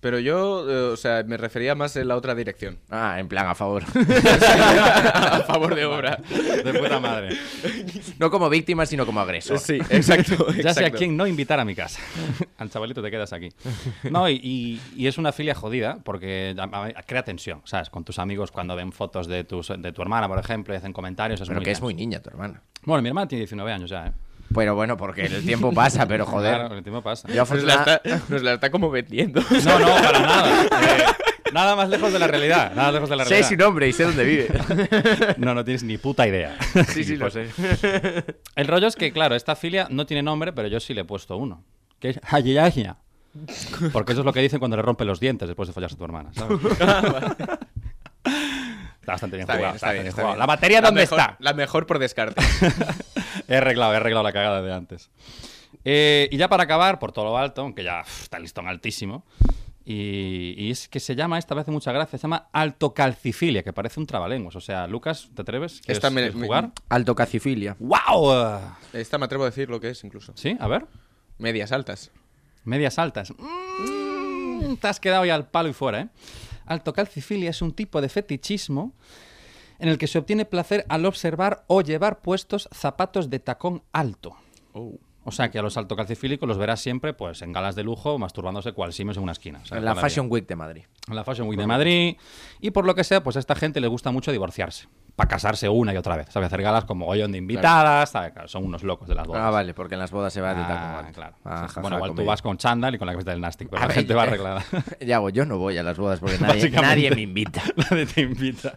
Speaker 3: pero yo, eh, o sea, me refería más en la otra dirección.
Speaker 1: Ah, en plan, a
Speaker 3: (laughs)
Speaker 1: favor. (laughs)
Speaker 4: (laughs)
Speaker 3: A favor de (laughs) obra.
Speaker 4: De puta madre.
Speaker 1: No como víctima, sino como agresor.
Speaker 3: Sí, exacto.
Speaker 4: Ya sé a
Speaker 3: exacto.
Speaker 4: quién no invitar a mi casa.
Speaker 3: (laughs)
Speaker 4: Al chavalito te quedas aquí. No, y, y- y es una filia jodida porque a- a- crea tensión, ¿sabes? Con tus amigos cuando ven fotos de, tus, de tu hermana, por ejemplo, y hacen comentarios.
Speaker 1: (laughs)
Speaker 4: Es
Speaker 1: Pero
Speaker 4: muy
Speaker 1: que es
Speaker 4: tenso.
Speaker 1: muy niña tu hermana.
Speaker 4: Bueno, mi hermana tiene 19 años ya, ¿eh?
Speaker 1: Pero bueno, porque el tiempo pasa, pero
Speaker 4: Claro,
Speaker 1: joder.
Speaker 4: el tiempo pasa.
Speaker 1: Yo
Speaker 3: Nos la,
Speaker 1: afortuna-
Speaker 3: está, nos la está como vendiendo.
Speaker 4: (laughs) No, no, para nada. Eh, nada más lejos de la realidad. Nada más lejos de la
Speaker 1: Sé
Speaker 4: realidad.
Speaker 1: su nombre y sé dónde
Speaker 4: (laughs)
Speaker 1: vive.
Speaker 4: No, no tienes ni puta idea.
Speaker 1: Sí, sí, lo
Speaker 4: pues
Speaker 1: sé.
Speaker 4: El rollo es que, claro, esta filia no tiene nombre, pero yo sí le he puesto uno. Que es Hayagia. Porque eso es lo que dicen cuando le rompen los dientes después de fallarse a tu hermana, ¿sabes? Está bastante bien
Speaker 3: Está
Speaker 4: jugado.
Speaker 3: bien,
Speaker 4: está
Speaker 3: está bien,
Speaker 4: bastante
Speaker 3: está
Speaker 4: jugado.
Speaker 3: bien.
Speaker 4: ¿La batería dónde
Speaker 3: mejor-
Speaker 4: está?
Speaker 3: La mejor por (laughs) descarte.
Speaker 4: (laughs) He arreglado, he arreglado la cagada de antes. Eh, y ya para acabar, por todo lo alto, aunque ya uf, está el listón altísimo, y, y es que se llama, esta vez mucha gracia, se llama altocalcifilia, que parece un trabalenguas. O sea, Lucas, ¿te atreves? ¿Quieres,
Speaker 3: Esta me-
Speaker 4: quieres
Speaker 3: me-
Speaker 4: jugar?
Speaker 1: Alto cacifilia.
Speaker 4: ¡Wow!
Speaker 3: Esta me atrevo a decir lo que es incluso.
Speaker 4: Sí, a ver.
Speaker 3: Medias altas.
Speaker 4: Medias altas. Mm, te has quedado ya al palo y fuera, ¿eh? Altocalcifilia es un tipo de fetichismo en el que se obtiene placer al observar o llevar puestos zapatos de tacón alto.
Speaker 1: Oh.
Speaker 4: O sea que a los altocalcifílicos los verás siempre pues en galas de lujo masturbándose cual simes en una esquina. ¿sabes?
Speaker 1: En la
Speaker 4: Toda
Speaker 1: Fashion Week de Madrid.
Speaker 4: vida. En la Fashion Week de Madrid. Y por lo que sea, pues a esta gente le gusta mucho divorciarse. Para casarse una y otra vez. ¿Sabes? Hacer galas como gollón de invitadas. ¿sabes? Claro, son unos locos de las bodas.
Speaker 1: Ah, vale, porque en las bodas se va de
Speaker 4: Ah,
Speaker 1: taco alto.
Speaker 4: claro.
Speaker 1: Ah,
Speaker 4: Sí, sí.
Speaker 1: jaja,
Speaker 4: bueno, igual tú
Speaker 1: comedia.
Speaker 4: vas con chándal y con la camiseta del Nastic, pero
Speaker 1: A
Speaker 4: la
Speaker 1: ver, (laughs)
Speaker 4: gente va
Speaker 1: eh,
Speaker 4: arreglada. (laughs)
Speaker 1: Ya voy, yo no voy a las bodas porque nadie,
Speaker 4: Básicamente.
Speaker 1: nadie me invita.
Speaker 4: Nadie te invita.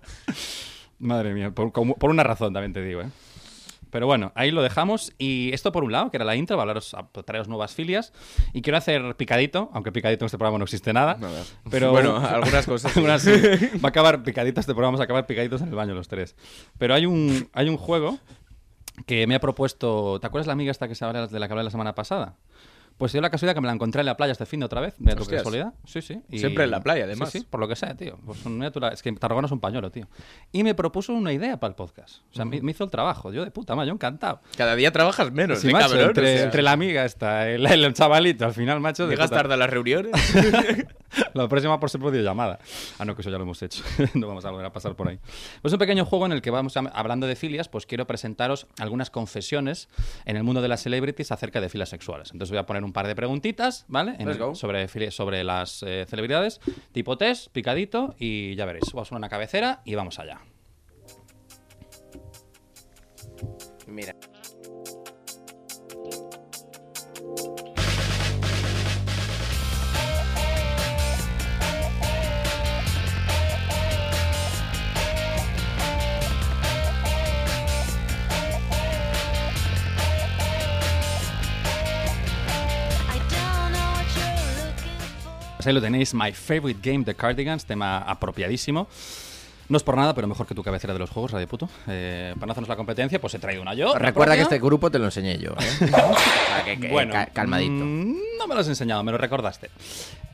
Speaker 4: Madre mía, por, como- por una razón también te digo, ¿eh? Pero bueno, ahí lo dejamos. Y esto por un lado, que era la intro, va a hablaros, a traeros nuevas filias. Y quiero hacer picadito, aunque picadito en este programa no existe nada.
Speaker 3: Nada. (laughs)
Speaker 4: Pero
Speaker 3: Bueno, algunas
Speaker 4: (laughs)
Speaker 3: cosas sí.
Speaker 4: algunas sí. Va a acabar picadito este programa, vamos a acabar picaditos en el baño los tres. Pero hay un, hay un juego que me ha propuesto. ¿Te acuerdas la amiga esta que se habla de la que hablé la semana pasada? Pues dio la casualidad que me la encontré en la playa este fin de otra vez, de tu
Speaker 3: Hostias.
Speaker 4: casualidad. Sí, sí. y-
Speaker 3: Siempre en la playa, además.
Speaker 4: Sí, sí, por lo que sea, tío. Pues un natural- Es que Tarragona es un pañuelo, tío. Y me propuso una idea para el podcast. O sea, me,
Speaker 3: Mm.
Speaker 4: me hizo el trabajo. Yo de puta madre, yo encantado.
Speaker 3: Cada día trabajas menos,
Speaker 4: Sí,
Speaker 3: ¿eh,
Speaker 4: macho,
Speaker 3: cabrón?
Speaker 4: entre,
Speaker 3: O sea,
Speaker 4: entre la amiga esta, el, el chavalito, al final, macho. de
Speaker 3: Llegas
Speaker 4: puta-
Speaker 3: tarde a las reuniones. (laughs)
Speaker 4: la próxima por ser por llamada. Ah, no, que eso ya lo hemos hecho. (laughs) no vamos a volver a pasar por ahí. Es un pequeño juego en el que vamos a- hablando de filias, pues quiero presentaros algunas confesiones en el mundo de las celebrities acerca de filias sexuales. Entonces voy a poner un par de preguntitas, ¿vale? En-
Speaker 1: Let's go.
Speaker 4: Sobre, fili- sobre las eh, celebridades, tipo test, picadito, y ya veréis. Vamos a poner una cabecera y vamos allá.
Speaker 1: Mira.
Speaker 6: I don't know what you're looking for.
Speaker 4: Pues ahí lo tenéis, My Favorite Game de Cardigans, tema apropiadísimo. No es por nada, pero mejor que tu cabecera de los juegos, Radio Puto. Eh, para no hacernos la competencia, pues he traído una yo.
Speaker 1: Recuerda que
Speaker 4: propia.
Speaker 1: este grupo te lo enseñé yo. ¿eh?
Speaker 4: (laughs)
Speaker 1: (laughs) O sea, que- que- ca- calmadito.
Speaker 4: mm, No me lo has enseñado, me lo recordaste.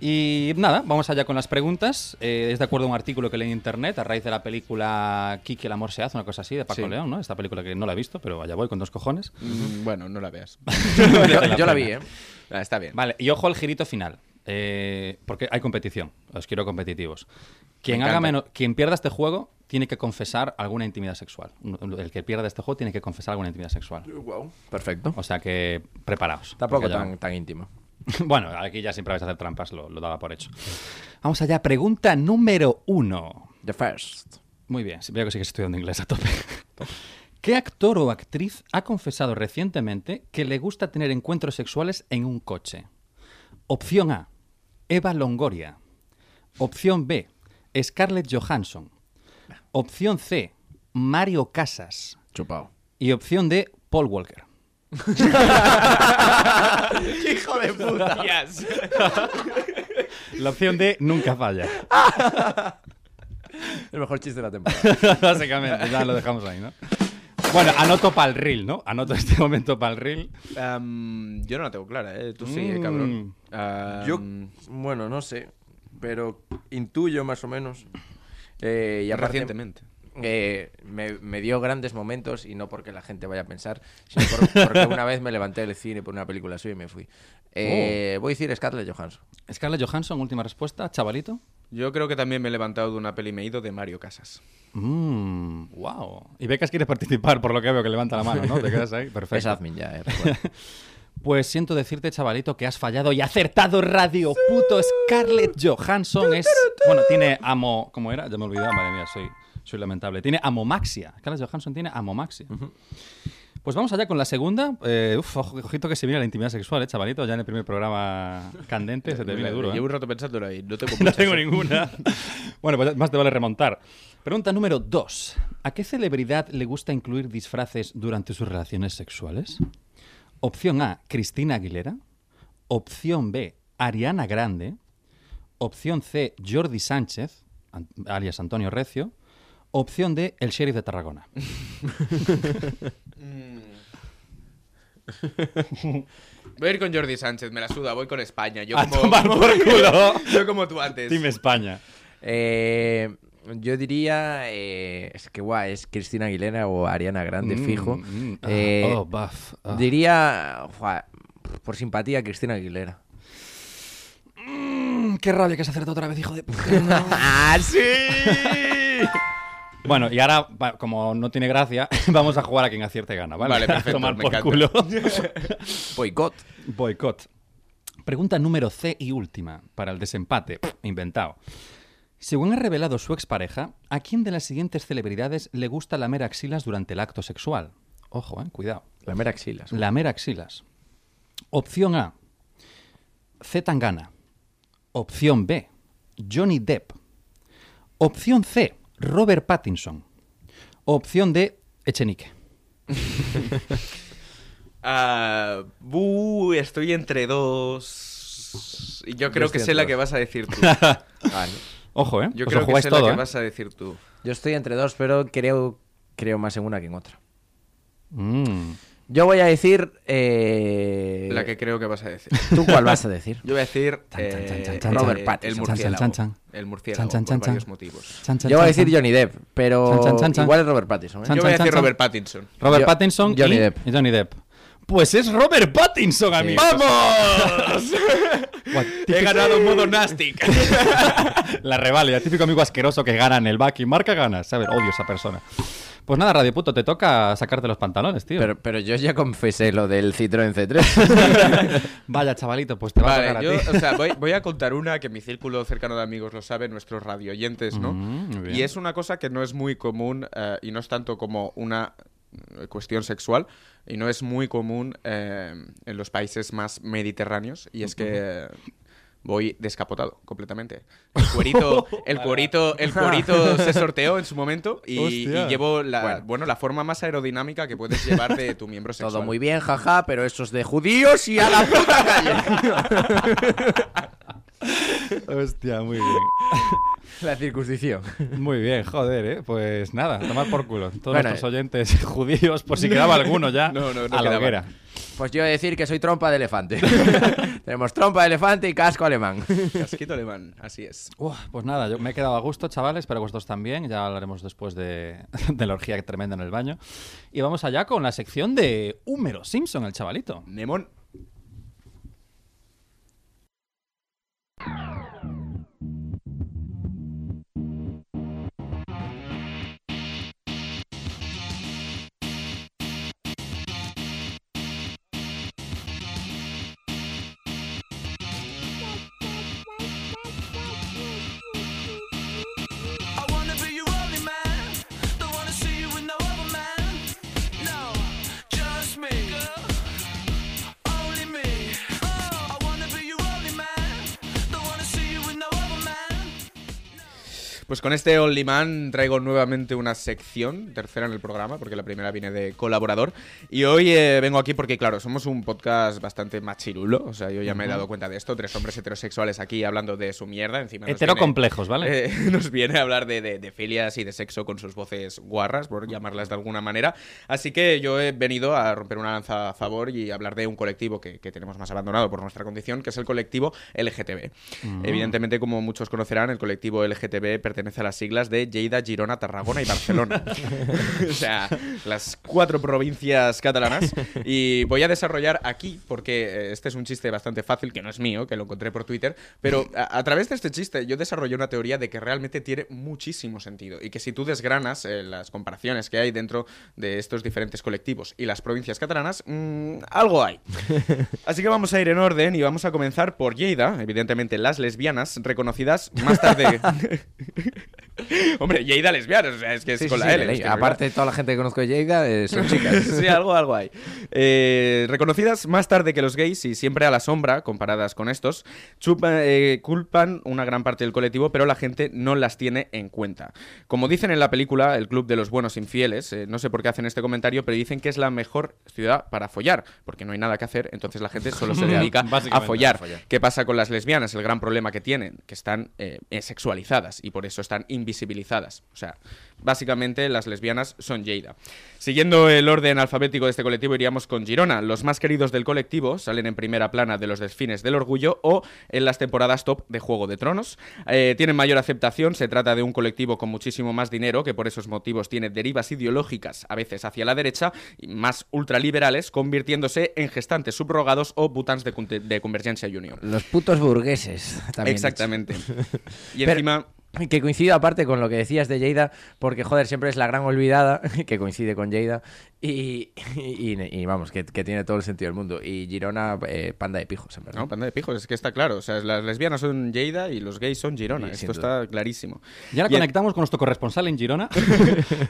Speaker 4: Y nada, vamos allá con las preguntas. Eh, es de acuerdo a un artículo que leí en internet a raíz de la película Kiki el amor se hace, una cosa así, de Paco
Speaker 3: Sí.
Speaker 4: León, ¿no? Esta película que no la he visto, pero allá voy con dos cojones.
Speaker 1: (laughs)
Speaker 4: (laughs)
Speaker 3: Mm, bueno, no la veas.
Speaker 4: Merece
Speaker 1: Yo- yo la vi,
Speaker 4: pena.
Speaker 1: ¿eh?
Speaker 3: Ah, está bien.
Speaker 4: Vale, y ojo al girito final. eh, porque hay competición. Os quiero competitivos. Quien,
Speaker 3: Me
Speaker 4: haga
Speaker 3: encanta.
Speaker 4: menos, quien pierda este juego tiene que confesar alguna intimidad sexual. El que pierda este juego tiene que confesar alguna intimidad sexual.
Speaker 1: Perfecto.
Speaker 4: O sea que preparaos.
Speaker 1: Tampoco
Speaker 4: porque ya-
Speaker 1: tan, tan íntimo.
Speaker 4: (laughs) Bueno, aquí ya siempre vais a hacer trampas, lo, lo daba por hecho. Vamos allá, pregunta número uno.
Speaker 1: The first.
Speaker 4: Muy bien, veo que sigues estudiando inglés a tope. (laughs) ¿Qué actor o actriz ha confesado recientemente que le gusta tener encuentros sexuales en un coche? Opción A, Eva Longoria. Opción B, Scarlett Johansson. Opción C, Mario Casas.
Speaker 1: Chupado.
Speaker 4: Y opción D, Paul Walker.
Speaker 1: Hijo de puta.
Speaker 4: La opción D nunca falla.
Speaker 1: El mejor chiste de la temporada.
Speaker 4: (laughs) Básicamente, ya lo dejamos ahí, ¿no? Bueno, anoto para el reel, ¿no? Anoto este (laughs) momento para el reel.
Speaker 3: Am, yo no la tengo clara, ¿eh? Tú sí, eh, cabrón.
Speaker 4: Mm.
Speaker 3: Em, Am,
Speaker 1: Yo, bueno, no sé, pero intuyo más o menos. Eh, y aparte,
Speaker 3: Recientemente.
Speaker 1: eh, me, me dio grandes momentos y no porque la gente vaya a pensar, sino por- porque una vez me levanté del cine por una película suya y me fui. Eh,
Speaker 4: Oh.
Speaker 1: Voy a decir Scarlett Johansson.
Speaker 4: Scarlett Johansson, última respuesta, chavalito.
Speaker 3: Yo creo que también me he levantado de una peli y me he ido de Mario Casas.
Speaker 4: Mmm, wow. Y Becas quiere participar, por lo que veo que levanta la mano, ¿no? Te quedas (laughs) ahí, perfecto.
Speaker 1: Es admin ya, eh,
Speaker 4: (laughs)
Speaker 1: recuerda.
Speaker 4: Pues siento decirte, chavalito, que has fallado y acertado radio puto. Scarlett Johansson es. Bueno, tiene amo. ¿Cómo era? Ya me he olvidado, madre mía, soy, soy lamentable. Tiene amomaxia. Scarlett Johansson tiene amomaxia. Pues vamos allá con la segunda. Eh, uf, ojo- ojito que se viene la intimidad sexual, ¿eh, chavalito? Ya en el primer programa candente se te viene duro. ¿eh?
Speaker 3: Llevo un rato pensándolo ahí. No tengo
Speaker 4: (laughs) No
Speaker 3: muchas,
Speaker 4: tengo
Speaker 3: ¿eh?
Speaker 4: ninguna. Bueno, pues más te vale remontar. Pregunta número 2. ¿A qué celebridad le gusta incluir disfraces durante sus relaciones sexuales? Opción A, Cristina Aguilera. Opción B, Ariana Grande. Opción C, Jordi Sánchez, an- alias Antonio Recio. Opción D, el sheriff de Tarragona.
Speaker 3: Voy a ir con Jordi Sánchez, me la suda, voy con España. (laughs) Yo
Speaker 4: A
Speaker 3: como,
Speaker 4: tomar
Speaker 3: como-
Speaker 4: por culo.
Speaker 3: yo como tú antes.
Speaker 4: Dime España.
Speaker 1: Eh, yo diría, eh, es que guay, es Cristina Aguilera o Ariana Grande,
Speaker 4: Mm,
Speaker 1: fijo.
Speaker 4: mm, ah,
Speaker 1: Eh,
Speaker 4: oh, buff, ah.
Speaker 1: Diría, jua, por simpatía, Cristina Aguilera.
Speaker 4: Mm, Qué rabia que se acertó otra vez, hijo de puta.
Speaker 1: ¡Ah,
Speaker 4: (laughs)
Speaker 1: sí!
Speaker 4: Bueno, y ahora, va- como no tiene gracia, (laughs) vamos a jugar a quien acierte gana, ¿vale?
Speaker 3: Vale, perfecto,
Speaker 4: (laughs) A Tomar
Speaker 3: me
Speaker 4: por
Speaker 3: encanta. (laughs)
Speaker 4: culo.
Speaker 1: Boicot.
Speaker 4: Boicot. Pregunta número C y última, para el desempate. Pff, Inventado. Según ha revelado su expareja, ¿a quién de las siguientes celebridades le gusta lamer axilas durante el acto sexual? Ojo, eh, cuidado.
Speaker 1: La mera axila.
Speaker 4: Lamer axilas. Opción A. Z Tangana. Opción B. Johnny Depp. Opción C. Robert Pattinson. Opción D. Echenique.
Speaker 3: Ah, bu, estoy entre dos. Y yo creo
Speaker 1: estoy
Speaker 3: que sé
Speaker 1: entre
Speaker 3: la
Speaker 1: dos.
Speaker 3: que vas a decir
Speaker 4: (laughs)
Speaker 3: tú.
Speaker 1: Vale.
Speaker 4: Ojo, ¿eh?
Speaker 3: Yo
Speaker 4: Os lo
Speaker 3: creo que
Speaker 4: jugáis
Speaker 3: sé
Speaker 4: todo,
Speaker 3: la que
Speaker 4: ¿eh?
Speaker 3: vas a decir tú.
Speaker 1: Yo estoy entre dos, pero creo, creo más en una que en otra.
Speaker 4: Mm.
Speaker 1: Yo voy a decir... eh,
Speaker 3: La que creo que vas a decir.
Speaker 1: ¿Tú cuál vas a
Speaker 3: (laughs)
Speaker 1: decir?
Speaker 3: Yo voy a decir
Speaker 4: Chan, chan, chan,
Speaker 3: eh,
Speaker 4: chan, chan,
Speaker 1: Robert
Speaker 3: eh, el
Speaker 1: Pattinson.
Speaker 3: murciélago.
Speaker 4: Chan, chan, chan.
Speaker 3: El murciélago
Speaker 4: Chan, chan,
Speaker 3: por
Speaker 4: chan,
Speaker 3: varios
Speaker 4: chan.
Speaker 3: motivos.
Speaker 4: Chan, chan,
Speaker 1: Yo voy a
Speaker 4: chan,
Speaker 1: decir
Speaker 4: chan.
Speaker 1: Johnny Depp, pero
Speaker 4: Chan, chan, chan, chan.
Speaker 1: igual es Robert Pattinson. ¿eh?
Speaker 4: Chan,
Speaker 3: Yo voy a
Speaker 4: chan,
Speaker 3: decir
Speaker 4: chan.
Speaker 3: Robert Pattinson.
Speaker 4: Robert
Speaker 1: Yo-
Speaker 4: Pattinson
Speaker 1: Johnny
Speaker 4: y
Speaker 1: Depp.
Speaker 4: y Johnny Depp. Pues es Robert Pattinson, amigo.
Speaker 3: ¡Vamos!
Speaker 4: Guau,
Speaker 1: (laughs)
Speaker 3: He
Speaker 4: (laughs) típico-
Speaker 3: ganado modo
Speaker 4: (laughs)
Speaker 3: Nastic.
Speaker 4: La revalia, típico amigo asqueroso que gana en el back y marca ganas. ¿sabes? Odio a esa persona. Pues nada, Radio Puto, te toca sacarte los pantalones, tío.
Speaker 1: Pero, pero yo ya confesé lo del Citroën C3.
Speaker 4: (laughs) Vaya, chavalito, pues te va a tocar
Speaker 3: Vale, yo,
Speaker 4: a ti.
Speaker 3: o sea, voy, voy a contar una que mi círculo cercano de amigos lo sabe, nuestros radioyentes, ¿no?
Speaker 4: Mm, muy bien.
Speaker 3: y es una cosa que no es muy común eh, y no es tanto como una eh, cuestión sexual y no es muy común eh, en los países más mediterráneos y es que eh, voy descapotado completamente. El
Speaker 4: (laughs)
Speaker 3: cuerito, el cuerito, el cuerito se sorteó en su momento y, y
Speaker 4: Hostia.
Speaker 3: llevo la, bueno.
Speaker 1: Bueno.
Speaker 3: la forma más aerodinámica que puedes llevar de tu miembro sexual.
Speaker 1: Todo muy bien, jaja, pero eso es de judíos y a la (laughs) puta calle.
Speaker 3: (laughs)
Speaker 4: (laughs) Hostia, muy bien.
Speaker 1: la circuncisión.
Speaker 4: Muy bien, joder, ¿eh? Pues nada, a tomar por culo. Todos
Speaker 1: Bueno,
Speaker 4: nuestros oyentes (laughs) judíos, por si quedaba alguno ya,
Speaker 3: eh. No, no, no
Speaker 4: a la
Speaker 3: quedaba.
Speaker 4: hoguera.
Speaker 1: Pues yo voy a decir que soy trompa de elefante. (laughs) Tenemos trompa de elefante y casco alemán.
Speaker 3: Casquito alemán, así es.
Speaker 4: Uf, pues nada, yo me he quedado a gusto, chavales, pero vosotros también. Ya hablaremos después de, (laughs) de la orgía tremenda en el baño. Y vamos allá con la sección de Húmero Simpson, el chavalito.
Speaker 3: Nemón.
Speaker 7: Oh,
Speaker 3: Pues con este Only Man traigo nuevamente una sección, tercera en el programa, porque la primera viene de colaborador. Y hoy eh, vengo aquí porque, claro, somos un podcast bastante machirulo. O sea, yo ya me he dado cuenta de esto. Tres hombres heterosexuales aquí hablando de su mierda. Encima nos viene-
Speaker 4: Heterocomplejos, ¿vale?
Speaker 3: eh, (laughs) nos viene a hablar de, de- de filias y de sexo con sus voces guarras, por llamarlas de alguna manera. Así que yo he venido a romper una lanza a favor y hablar de un colectivo que, que tenemos más abandonado por nuestra condición, que es el colectivo LGTB. Evidentemente, como muchos conocerán, el colectivo LGTB pertenece a las siglas de Lleida, Girona, Tarragona y Barcelona. (laughs) o sea, las cuatro provincias catalanas. Y voy a desarrollar aquí, porque eh, este es un chiste bastante fácil, que no es mío, que lo encontré por Twitter, pero a, a través de este chiste yo desarrollé una teoría de que realmente tiene muchísimo sentido y que si tú desgranas eh, las comparaciones que hay dentro de estos diferentes colectivos y las provincias catalanas, mm,
Speaker 1: (laughs)
Speaker 3: algo hay. Así que vamos a ir en orden y vamos a comenzar por Lleida, evidentemente las lesbianas reconocidas más
Speaker 1: (laughs)
Speaker 3: tarde. (laughs) Hombre, Lleida lesbianas, o sea, es que es
Speaker 1: Sí, sí,
Speaker 3: con
Speaker 1: sí,
Speaker 3: la
Speaker 1: de
Speaker 3: L. es
Speaker 1: ley.
Speaker 3: que no hay más.
Speaker 1: Aparte, toda la gente que conozco de Lleida eh, son chicas.
Speaker 3: (laughs) Sí, algo, algo hay. Eh, reconocidas más tarde que los gays y siempre a la sombra, comparadas con estos, chupa- eh, culpan una gran parte del colectivo, pero la gente no las tiene en cuenta. Como dicen en la película, el Club de los Buenos Infieles, eh, no sé por qué hacen este comentario, pero dicen que es la mejor ciudad para follar, porque no hay nada que hacer, entonces la gente solo se dedica a
Speaker 4: Básicamente,
Speaker 3: follar.
Speaker 4: a follar.
Speaker 3: ¿Qué pasa con las lesbianas? El gran problema que tienen, que están eh, eh, sexualizadas y por eso están invisibilizadas. O sea, básicamente las lesbianas son Lleida. Siguiendo el orden alfabético de este colectivo, iríamos con Girona. Los más queridos del colectivo salen en primera plana de los desfines del orgullo o en las temporadas top de Juego de Tronos. Eh, tienen mayor aceptación, se trata de un colectivo con muchísimo más dinero, que por esos motivos tiene derivas ideológicas, a veces hacia la derecha, y más ultraliberales, convirtiéndose en gestantes subrogados o butans de, conte- de Convergencia Junior.
Speaker 1: Los putos burgueses. También (laughs)
Speaker 3: Exactamente. Y
Speaker 1: Pero-
Speaker 3: encima,
Speaker 1: Que coincido aparte con lo que decías de Lleida, porque joder, siempre es la gran olvidada, (laughs) que coincide con Lleida, y, y- y, vamos, que, que tiene todo el sentido del mundo. Y Girona, eh, panda de pijos, en verdad.
Speaker 3: no, panda de pijos, es que está claro. O sea, las lesbianas son Lleida y los gays son Girona.
Speaker 1: Sí, sin
Speaker 3: Esto
Speaker 1: duda.
Speaker 3: está clarísimo.
Speaker 4: Y ahora
Speaker 3: Y en-
Speaker 4: conectamos con nuestro corresponsal
Speaker 1: (laughs)
Speaker 4: en Girona.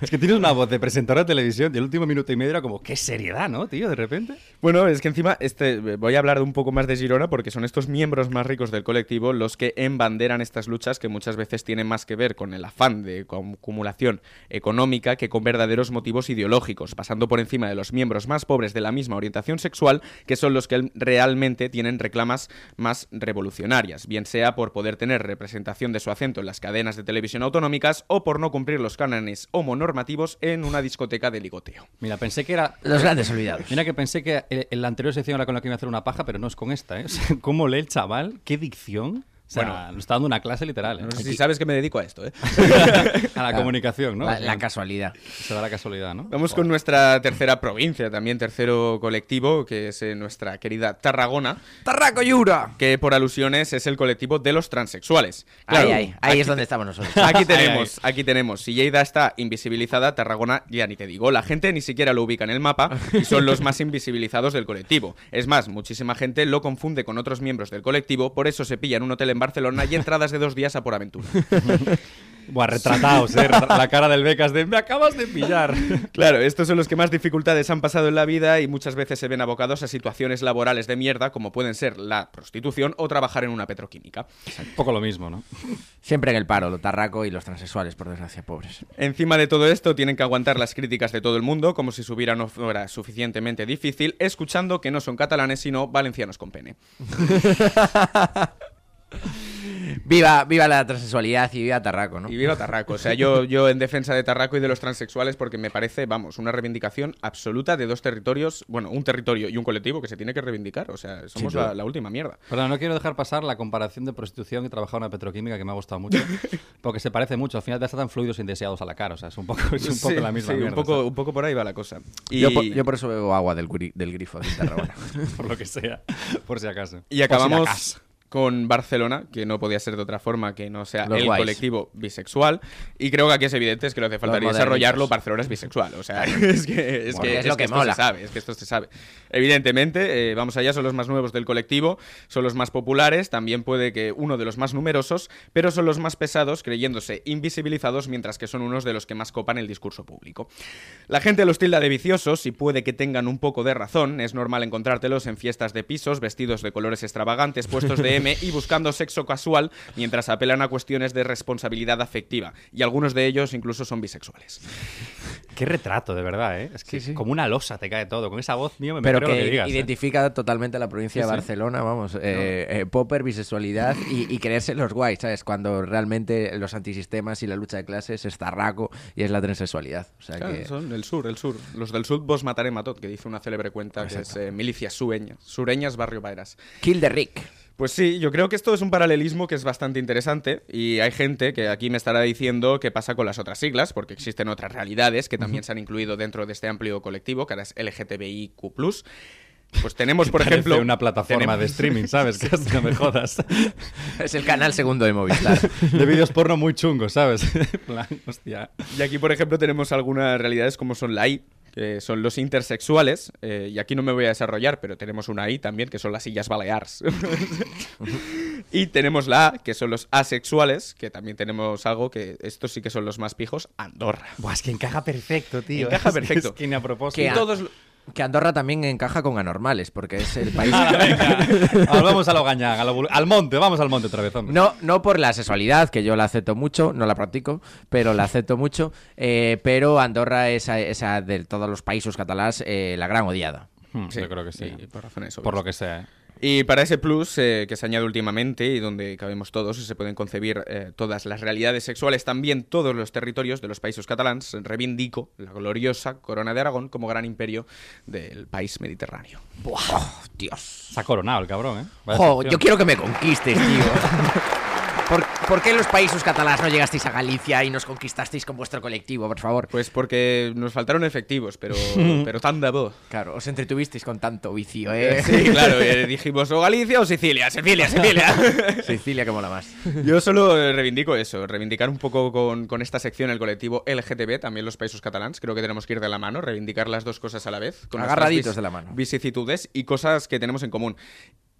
Speaker 4: es que tienes una voz de presentadora de televisión y el último minuto y medio era como, qué seriedad, ¿no, tío? De repente.
Speaker 3: Bueno, es que encima este, voy a hablar de un poco más de Girona porque son estos miembros más ricos del colectivo los que embanderan estas luchas que muchas veces tienen más que ver con el afán de acumulación económica que con verdaderos motivos ideológicos, pasando por encima de los miembros más pobres de la misma orientación sexual que son los que realmente tienen reclamas más revolucionarias, bien sea por poder tener representación de su acento en las cadenas de televisión autonómicas o por no cumplir los cánones homonormativos en una discoteca de ligoteo.
Speaker 4: Mira, pensé que era...
Speaker 1: Los grandes olvidados.
Speaker 4: Mira que pensé que el- en la anterior sección era con la que iba a hacer una paja, pero no es con esta, ¿eh? (laughs) O sea, ¿Cómo lee el chaval? ¿Qué dicción? O sea, nos está dando una clase literal, ¿eh?
Speaker 3: No sé si sabes que me dedico a esto, ¿eh?
Speaker 4: (laughs) A la comunicación, ¿no?
Speaker 1: La,
Speaker 4: O sea,
Speaker 1: la casualidad.
Speaker 4: Se da la casualidad, ¿no?
Speaker 3: Vamos con nuestra tercera provincia, también tercero colectivo, que es eh, nuestra querida Tarragona,
Speaker 1: ¡Tarraco Yura!
Speaker 3: que por alusiones es el colectivo de los transexuales. Claro,
Speaker 1: ahí, ahí, ahí es donde estamos nosotros.
Speaker 3: (laughs) Aquí tenemos, aquí tenemos. Si Lleida está invisibilizada, Tarragona ya ni te digo. La gente ni siquiera lo ubica en el mapa y son
Speaker 1: (laughs)
Speaker 3: los más invisibilizados del colectivo. Es más, muchísima gente lo confunde con otros miembros del colectivo, por eso se pilla en un hotel en Barcelona y entradas de dos días a por aventura.
Speaker 4: Buah, retrataos, ¿eh? Retra- La cara del Becas de, me acabas de pillar.
Speaker 3: (laughs) Claro, estos son los que más dificultades han pasado en la vida y muchas veces se ven abocados a situaciones laborales de mierda, como pueden ser la prostitución o trabajar en una petroquímica.
Speaker 4: Un poco lo mismo, ¿no?
Speaker 1: (laughs) Siempre en el paro, lo tarraco y los transexuales, por desgracia, pobres.
Speaker 3: Encima de todo esto, tienen que aguantar las críticas de todo el mundo, como si su vida no fuera suficientemente difícil, escuchando que no son catalanes, sino valencianos con pene.
Speaker 1: Viva, viva la transexualidad y viva Tarraco, ¿no?
Speaker 3: Y viva Tarraco. O sea, yo, yo en defensa de Tarraco y de los transexuales porque me parece, vamos, una reivindicación absoluta de dos territorios, bueno, un territorio y un colectivo que se tiene que reivindicar. O sea, somos la- la última mierda.
Speaker 4: Pero no quiero dejar pasar la comparación de prostitución y trabajar en una petroquímica que me ha gustado (laughs) mucho, porque se parece mucho. Al final te tratan fluidos indeseados a la cara, o sea, es un poco, es un poco
Speaker 3: Sí,
Speaker 4: la misma
Speaker 3: sí,
Speaker 4: mierda,
Speaker 3: un, poco,
Speaker 4: ¿sabes?
Speaker 3: un poco por ahí va la cosa. Y,
Speaker 1: Yo, por, yo por eso bebo agua del, guri- del grifo de Tarragona.
Speaker 4: por lo que sea, (laughs) por si acaso.
Speaker 3: y acabamos con Barcelona, que no podía ser de otra forma que no sea
Speaker 1: Los
Speaker 3: el
Speaker 1: guays.
Speaker 3: colectivo bisexual. Y creo que aquí es evidente, es que lo hace falta
Speaker 1: Los modernitos.
Speaker 3: desarrollarlo, Barcelona es bisexual. O sea, (laughs) es que, es
Speaker 1: Bueno,
Speaker 3: que,
Speaker 1: es
Speaker 3: es
Speaker 1: lo
Speaker 3: que
Speaker 1: que
Speaker 3: esto
Speaker 1: mola.
Speaker 3: se sabe, es que esto se sabe. Evidentemente, eh, vamos allá, son los más nuevos del colectivo, son los más populares, también puede que uno de los más numerosos, pero son los más pesados, creyéndose invisibilizados, mientras que son unos de los que más copan el discurso público. La gente los tilda de viciosos y puede que tengan un poco de razón. Es normal encontrártelos en fiestas de pisos, vestidos de colores extravagantes, puestos de BDSM y buscando sexo casual mientras apelan a cuestiones de responsabilidad afectiva. Y algunos de ellos incluso son bisexuales.
Speaker 4: Qué retrato, de verdad, ¿eh? Es que como una losa te cae todo. Con esa voz mío me
Speaker 1: Pero
Speaker 4: creo
Speaker 1: que,
Speaker 4: lo que digas. ¿eh?
Speaker 1: identifica totalmente la provincia
Speaker 4: Sí,
Speaker 1: de
Speaker 4: sí.
Speaker 1: Barcelona, vamos. eh, eh, popper, bisexualidad y, y creerse los guays, ¿sabes? Cuando realmente los antisistemas y la lucha de clases es tarraco y es la transexualidad. O sea
Speaker 3: Claro,
Speaker 1: que...
Speaker 3: son el sur, el sur. Los del sur vos mataré matot, que dice una célebre cuenta que es eh, milicias sureñas, sureñas barrio Baeras.
Speaker 1: Kill the Rick.
Speaker 3: Pues sí, yo creo que esto es un paralelismo que es bastante interesante y hay gente que aquí me estará diciendo qué pasa con las otras siglas, porque existen otras realidades que también se han incluido dentro de este amplio colectivo, que ahora es LGTBIQ+. Pues
Speaker 4: (laughs)
Speaker 3: tenemos, por
Speaker 4: ¿eh? Parece
Speaker 3: ejemplo...
Speaker 4: una plataforma
Speaker 3: tenemos-
Speaker 4: de streaming, (laughs) ¿sabes? Que hasta no me jodas.
Speaker 1: Es el canal segundo de Movistar.
Speaker 4: De vídeos porno muy chungos, ¿sabes? (laughs) En plan, hostia.
Speaker 3: Y aquí, por ejemplo, tenemos algunas realidades como son la I, que son los intersexuales, eh, y aquí no me voy a desarrollar, pero tenemos una I también, que son las sillas balears. (laughs) y tenemos la A, que son los asexuales, que también tenemos algo que estos sí que son los más pijos, Andorra.
Speaker 4: Buah, es que encaja perfecto, tío.
Speaker 3: Encaja
Speaker 4: (laughs) Es que-
Speaker 3: perfecto.
Speaker 4: Es que ni a propósito.
Speaker 1: Que,
Speaker 4: Y
Speaker 1: a-
Speaker 4: todo-
Speaker 1: que Andorra también encaja con anormales, porque es el
Speaker 4: (laughs)
Speaker 1: país...
Speaker 4: Ah, Ahora vamos a lo gañán, a lo bul- al monte, vamos al monte otra vez, hombre.
Speaker 1: No, no por la sexualidad, que yo la acepto mucho, no la practico, pero la acepto mucho. eh, pero Andorra es, a- es a- de todos los países catalás eh, la gran odiada.
Speaker 4: Hmm, Yo creo que sí.
Speaker 3: y por razones
Speaker 4: Por lo
Speaker 3: obvias.
Speaker 4: que sea. ¿eh?
Speaker 3: Y para ese plus eh, que se añade últimamente y donde cabemos todos, se pueden concebir eh, todas las realidades sexuales, también todos los territorios de los países catalans, reivindico la gloriosa corona de Aragón como gran imperio del país mediterráneo.
Speaker 1: Oh, Dios.
Speaker 4: Se ha coronado el cabrón, ¿eh? Vaya
Speaker 1: Jo,
Speaker 4: sección.
Speaker 1: yo quiero que me conquistes, tío. (laughs) ¿Por, por qué los países catalanes no llegasteis a Galicia y nos conquistasteis con vuestro colectivo, por favor?
Speaker 3: Pues porque nos faltaron efectivos, pero, pero tan de voz.
Speaker 1: Claro, os entretuvisteis con tanto vicio, ¿eh? (laughs)
Speaker 3: Eh, sí, claro, eh, dijimos o Galicia o Sicilia, Sicilia, Sicilia.
Speaker 1: Sicilia que mola más.
Speaker 3: Yo solo eh, reivindico eso, reivindicar un poco con, con esta sección el colectivo LGTB, también los países catalans. Creo que tenemos que ir de la mano, reivindicar las dos cosas a la vez. Con nuestras
Speaker 1: Agarraditos
Speaker 3: vis-
Speaker 1: de la mano.
Speaker 3: Vicisitudes y cosas que tenemos en común.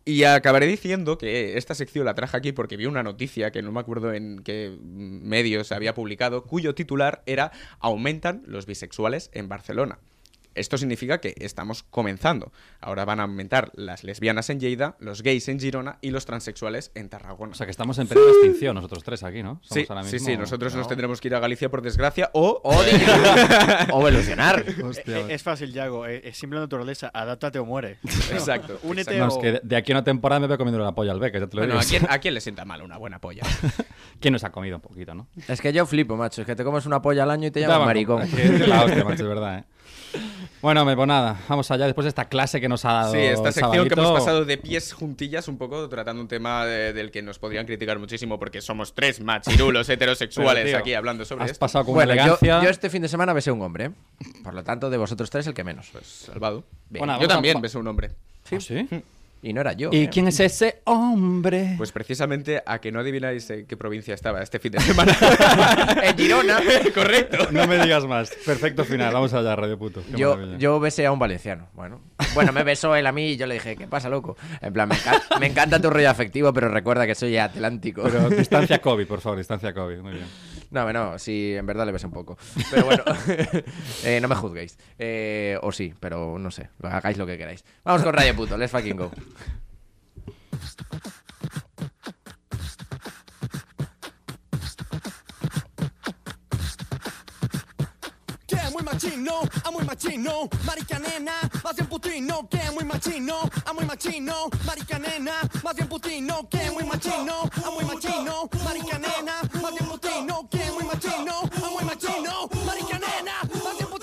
Speaker 3: Y acabaré diciendo que esta sección la traje aquí porque vi una noticia que no me acuerdo en qué medio se había publicado, cuyo titular era Aumentan los bisexuales en Barcelona. Esto significa que estamos comenzando. Ahora van a aumentar las lesbianas en Lleida, los gays en Girona y los transexuales en Tarragona.
Speaker 4: O sea, que estamos en plena extinción nosotros tres aquí, ¿no?
Speaker 3: Sí,
Speaker 4: Somos ahora
Speaker 3: sí,
Speaker 4: mismo-
Speaker 3: sí, nosotros nos tendremos que ir a Galicia por desgracia o... (laughs)
Speaker 1: O evolucionar.
Speaker 4: Hostia,
Speaker 5: Eh, eh, es fácil, Yago. eh, Es simple naturaleza. Adáptate
Speaker 4: (laughs)
Speaker 5: o muere.
Speaker 3: Exacto.
Speaker 5: (laughs) Únete
Speaker 4: No, es
Speaker 5: o...
Speaker 4: (laughs) que de aquí a una temporada me voy comiendo la polla al beca, ya te lo
Speaker 3: Bueno,
Speaker 4: digo.
Speaker 3: ¿a quién, a quién le sienta mal una buena (laughs) polla?
Speaker 4: (laughs) ¿Quién nos ha comido un poquito, no?
Speaker 1: Es que yo flipo, macho. Es que te comes una polla al año y te llamas
Speaker 4: Daban-
Speaker 1: maricón.
Speaker 4: Aquí (laughs) es la
Speaker 3: (laughs)
Speaker 4: hostia, macho, es verdad, ¿eh? Bueno, me pues nada, vamos allá después de esta clase que nos ha dado.
Speaker 3: Sí, esta
Speaker 4: el
Speaker 3: sección que
Speaker 4: Sabalito.
Speaker 3: hemos pasado de pies juntillas un poco tratando un tema de- del que nos podrían criticar muchísimo porque somos tres (laughs) machirulos heterosexuales
Speaker 4: Pero, tío,
Speaker 3: aquí hablando sobre
Speaker 4: Has
Speaker 3: esto.
Speaker 4: pasado con
Speaker 1: Bueno, yo,
Speaker 4: elegancia.
Speaker 1: yo este fin de semana besé un hombre. ¿eh? Por lo tanto, de vosotros tres, el que menos.
Speaker 3: Pues, Salvado.
Speaker 1: Bien.
Speaker 4: Bueno,
Speaker 3: Yo
Speaker 4: vamos a-
Speaker 3: también besé un hombre.
Speaker 4: ¿Ah, sí?
Speaker 1: Y no era yo.
Speaker 4: (laughs) ¿Y
Speaker 1: ¿eh?
Speaker 4: quién es ese hombre?
Speaker 3: Pues precisamente a que no adivináis en qué provincia estaba este (laughs) fin de semana.
Speaker 1: En Girona.
Speaker 3: (laughs) Correcto.
Speaker 4: (laughs) No me digas más. Perfecto final. Vamos allá, Radio Puto. Qué
Speaker 1: Yo,
Speaker 4: maravilla.
Speaker 1: yo besé a un valenciano. Bueno, bueno, me besó él a mí y yo le dije, ¿qué pasa, loco? En plan, me, encan- me encanta tu rollo afectivo, pero recuerda que soy atlántico. (laughs)
Speaker 4: Pero distancia COVID, por favor, distancia COVID. Muy bien.
Speaker 1: No, no, sí, en verdad le besé un poco. Pero bueno, (laughs) eh, no me juzguéis. Eh, o sí, pero no sé, hagáis lo que queráis. Vamos con Radio Puto, let's fucking go.
Speaker 7: Que muy machino, a muy machino, marica nena, más bien putino, que muy machino, a muy machino, marica nena, más bien putino, que muy machino, a muy machino, marica nena, más bien putino, que muy machino, a muy machino, marica nena, más bien putino.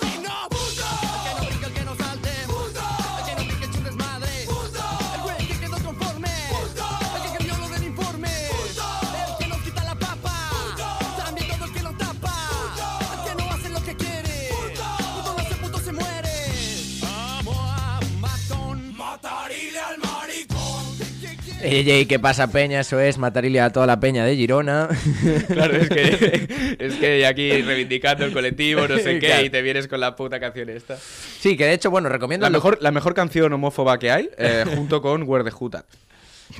Speaker 7: Puto. El que no pique, el que no salte. Puto. El que no pique, es un desmadre. Puto. El güey que quedó conforme. Puto. El que cambió lo del informe. Puto. El que nos quita la papa. Puto. También todo el que lo tapa. Puto. El que no hace lo que quiere. Puto. Puto no hace, puto se muere. Vamos a matón. Matarile al maricón.
Speaker 1: (laughs) Ey, ey, ey, ¿qué pasa, Peña? Eso es matarile a toda la Peña de Girona. (laughs)
Speaker 3: Claro, es que, es que aquí reivindicando el colectivo, no (laughs) sé qué,
Speaker 1: Claro.
Speaker 3: y te vienes con la puta canción esta.
Speaker 1: Sí, que de hecho, bueno, recomiendo
Speaker 3: La
Speaker 1: lo-
Speaker 3: (laughs) mejor, la mejor canción homófoba que hay, eh, junto con Where the Hood At.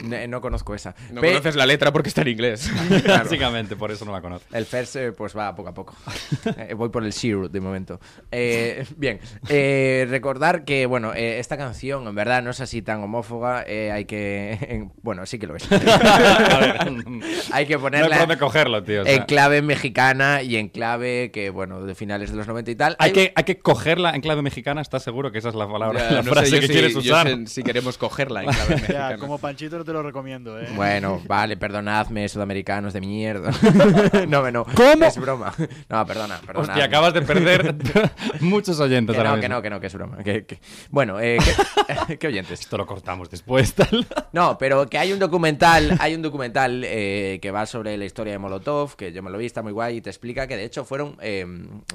Speaker 1: Ne- No, conozco esa.
Speaker 3: No
Speaker 1: Pe-
Speaker 3: conoces la letra porque está en (laughs) inglés.
Speaker 4: Básicamente, por eso no la conozco.
Speaker 1: El first, eh, pues va poco a
Speaker 4: (laughs)
Speaker 1: poco. Eh, voy por el zero de momento. Eh, bien, eh, recordar que, bueno, eh, esta canción en verdad no es así tan homófoba. eh, hay que. en- bueno, sí que lo es.
Speaker 4: (laughs) A ver, no
Speaker 1: hay que
Speaker 4: hay por
Speaker 1: ponerla
Speaker 4: dónde cogerlo, tío. o sea,
Speaker 1: en clave mexicana y en clave que, bueno, de finales de los 90 y tal.
Speaker 4: hay, que, hay que cogerla en clave mexicana, ¿estás seguro que esa es la palabra,
Speaker 3: Ya,
Speaker 4: la
Speaker 3: no sé
Speaker 4: frase
Speaker 3: yo
Speaker 4: que
Speaker 3: si-
Speaker 4: quieres
Speaker 3: yo
Speaker 4: usar?
Speaker 3: sé si queremos cogerla en clave mexicana.
Speaker 5: Ya, como Panchito no te lo recomiendo, ¿eh?
Speaker 1: Bueno, vale, perdonadme, sudamericanos de
Speaker 4: (laughs)
Speaker 1: mierda. no, no.
Speaker 4: ¿Cómo?
Speaker 1: Es broma. No, perdona, perdona.
Speaker 4: Hostia, acabas
Speaker 1: (laughs)
Speaker 4: de perder muchos oyentes
Speaker 1: Que
Speaker 4: ahora
Speaker 1: no,
Speaker 4: mismo.
Speaker 1: que no, que no, que es broma. que- que- Bueno, eh, (laughs) ¿qué- ¿qué oyentes?
Speaker 4: Esto lo cortamos después, tal. (laughs)
Speaker 1: No, pero que hay un documental, hay un documental eh, que va sobre la historia de Molotov, que yo me lo vi, está muy guay, y te explica que de hecho fueron, eh,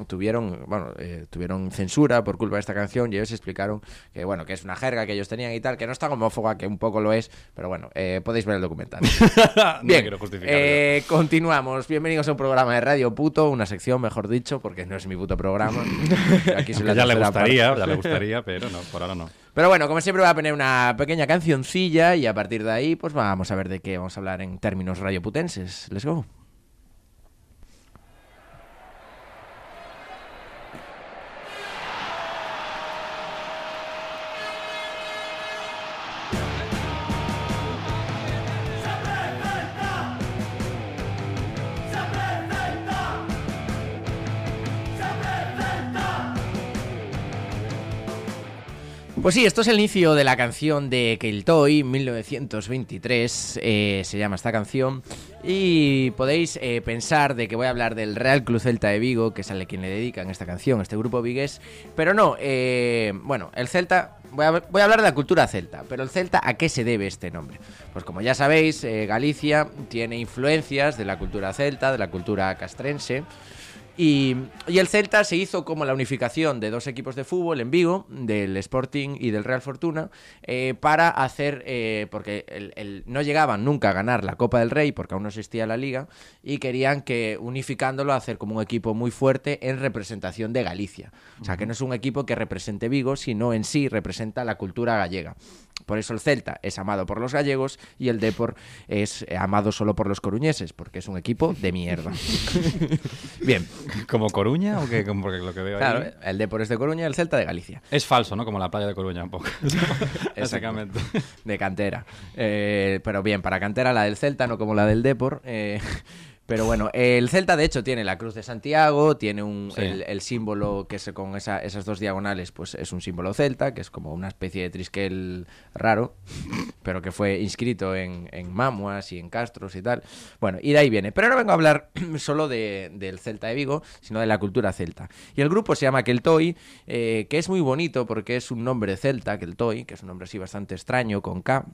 Speaker 1: tuvieron, bueno, eh, tuvieron censura por culpa de esta canción, y ellos explicaron que, bueno, que es una jerga que ellos tenían y tal, que no es tan homófoba, que un poco lo es, pero bueno, eh, podéis ver el documental.
Speaker 4: (laughs) no
Speaker 1: Bien,
Speaker 4: quiero justificarlo.
Speaker 1: eh, continuamos. Bienvenidos a un programa de Radio Puto, una sección, mejor dicho, porque no es mi puto
Speaker 4: (laughs)
Speaker 1: programa. Aquí soy la
Speaker 4: ya le
Speaker 1: tercera
Speaker 4: gustaría,
Speaker 1: parte. (laughs)
Speaker 4: ya le gustaría, pero no, por ahora no.
Speaker 1: Pero bueno, como siempre va a poner una pequeña cancioncilla y a partir de ahí pues vamos a ver de qué vamos a hablar en términos rayoputenses. Let's go. Pues sí, esto es el inicio de la canción de Killtoy, 1923, eh, se llama esta canción. Y podéis eh, pensar de que voy a hablar del Real Club Celta de Vigo, que es al quien le dedican esta canción, este grupo vigués. Pero no, eh, bueno, el Celta, voy a, voy a hablar de la cultura celta, pero el Celta, ¿a qué se debe este nombre? Pues como ya sabéis, eh, Galicia tiene influencias de la cultura celta, de la cultura castrense. Y, y el Celta se hizo como la unificación de dos equipos de fútbol en Vigo, del Sporting y del Real Fortuna, eh, para hacer, eh, porque el- el- no llegaban nunca a ganar la Copa del Rey, porque aún no existía la liga, y querían que unificándolo hacer como un equipo muy fuerte en representación de Galicia. O sea, que no es un equipo que represente Vigo, sino en sí representa la cultura gallega. Por eso el Celta es amado por los gallegos y el Depor es eh, amado solo por los coruñeses, porque es un equipo de mierda. Bien.
Speaker 4: ¿Como Coruña o qué? Como Porque lo que veo ahí-
Speaker 1: Claro, eh. el Depor es de este Coruña, el Celta de Galicia,
Speaker 4: Es falso, ¿no? Como la playa de Coruña,
Speaker 1: (laughs)
Speaker 4: un poco. Básicamente.
Speaker 1: de cantera. Eh, pero bien, para cantera la del Celta, no como la del Depor. eh, (laughs) pero bueno, el Celta de hecho tiene la cruz de Santiago, tiene un,
Speaker 4: Sí.
Speaker 1: el, el símbolo que se con esa- esas dos diagonales, pues es un símbolo celta, que es como una especie de trisquel raro, pero que fue inscrito en, en mamuas y en castros y tal. Bueno, y de ahí viene. Pero no vengo a hablar (clears throat) solo de- del Celta de Vigo, sino de la cultura celta. Y el grupo se llama Keltoi, eh, que es muy bonito porque es un nombre celta, Keltoi, que es un nombre así bastante extraño, con K.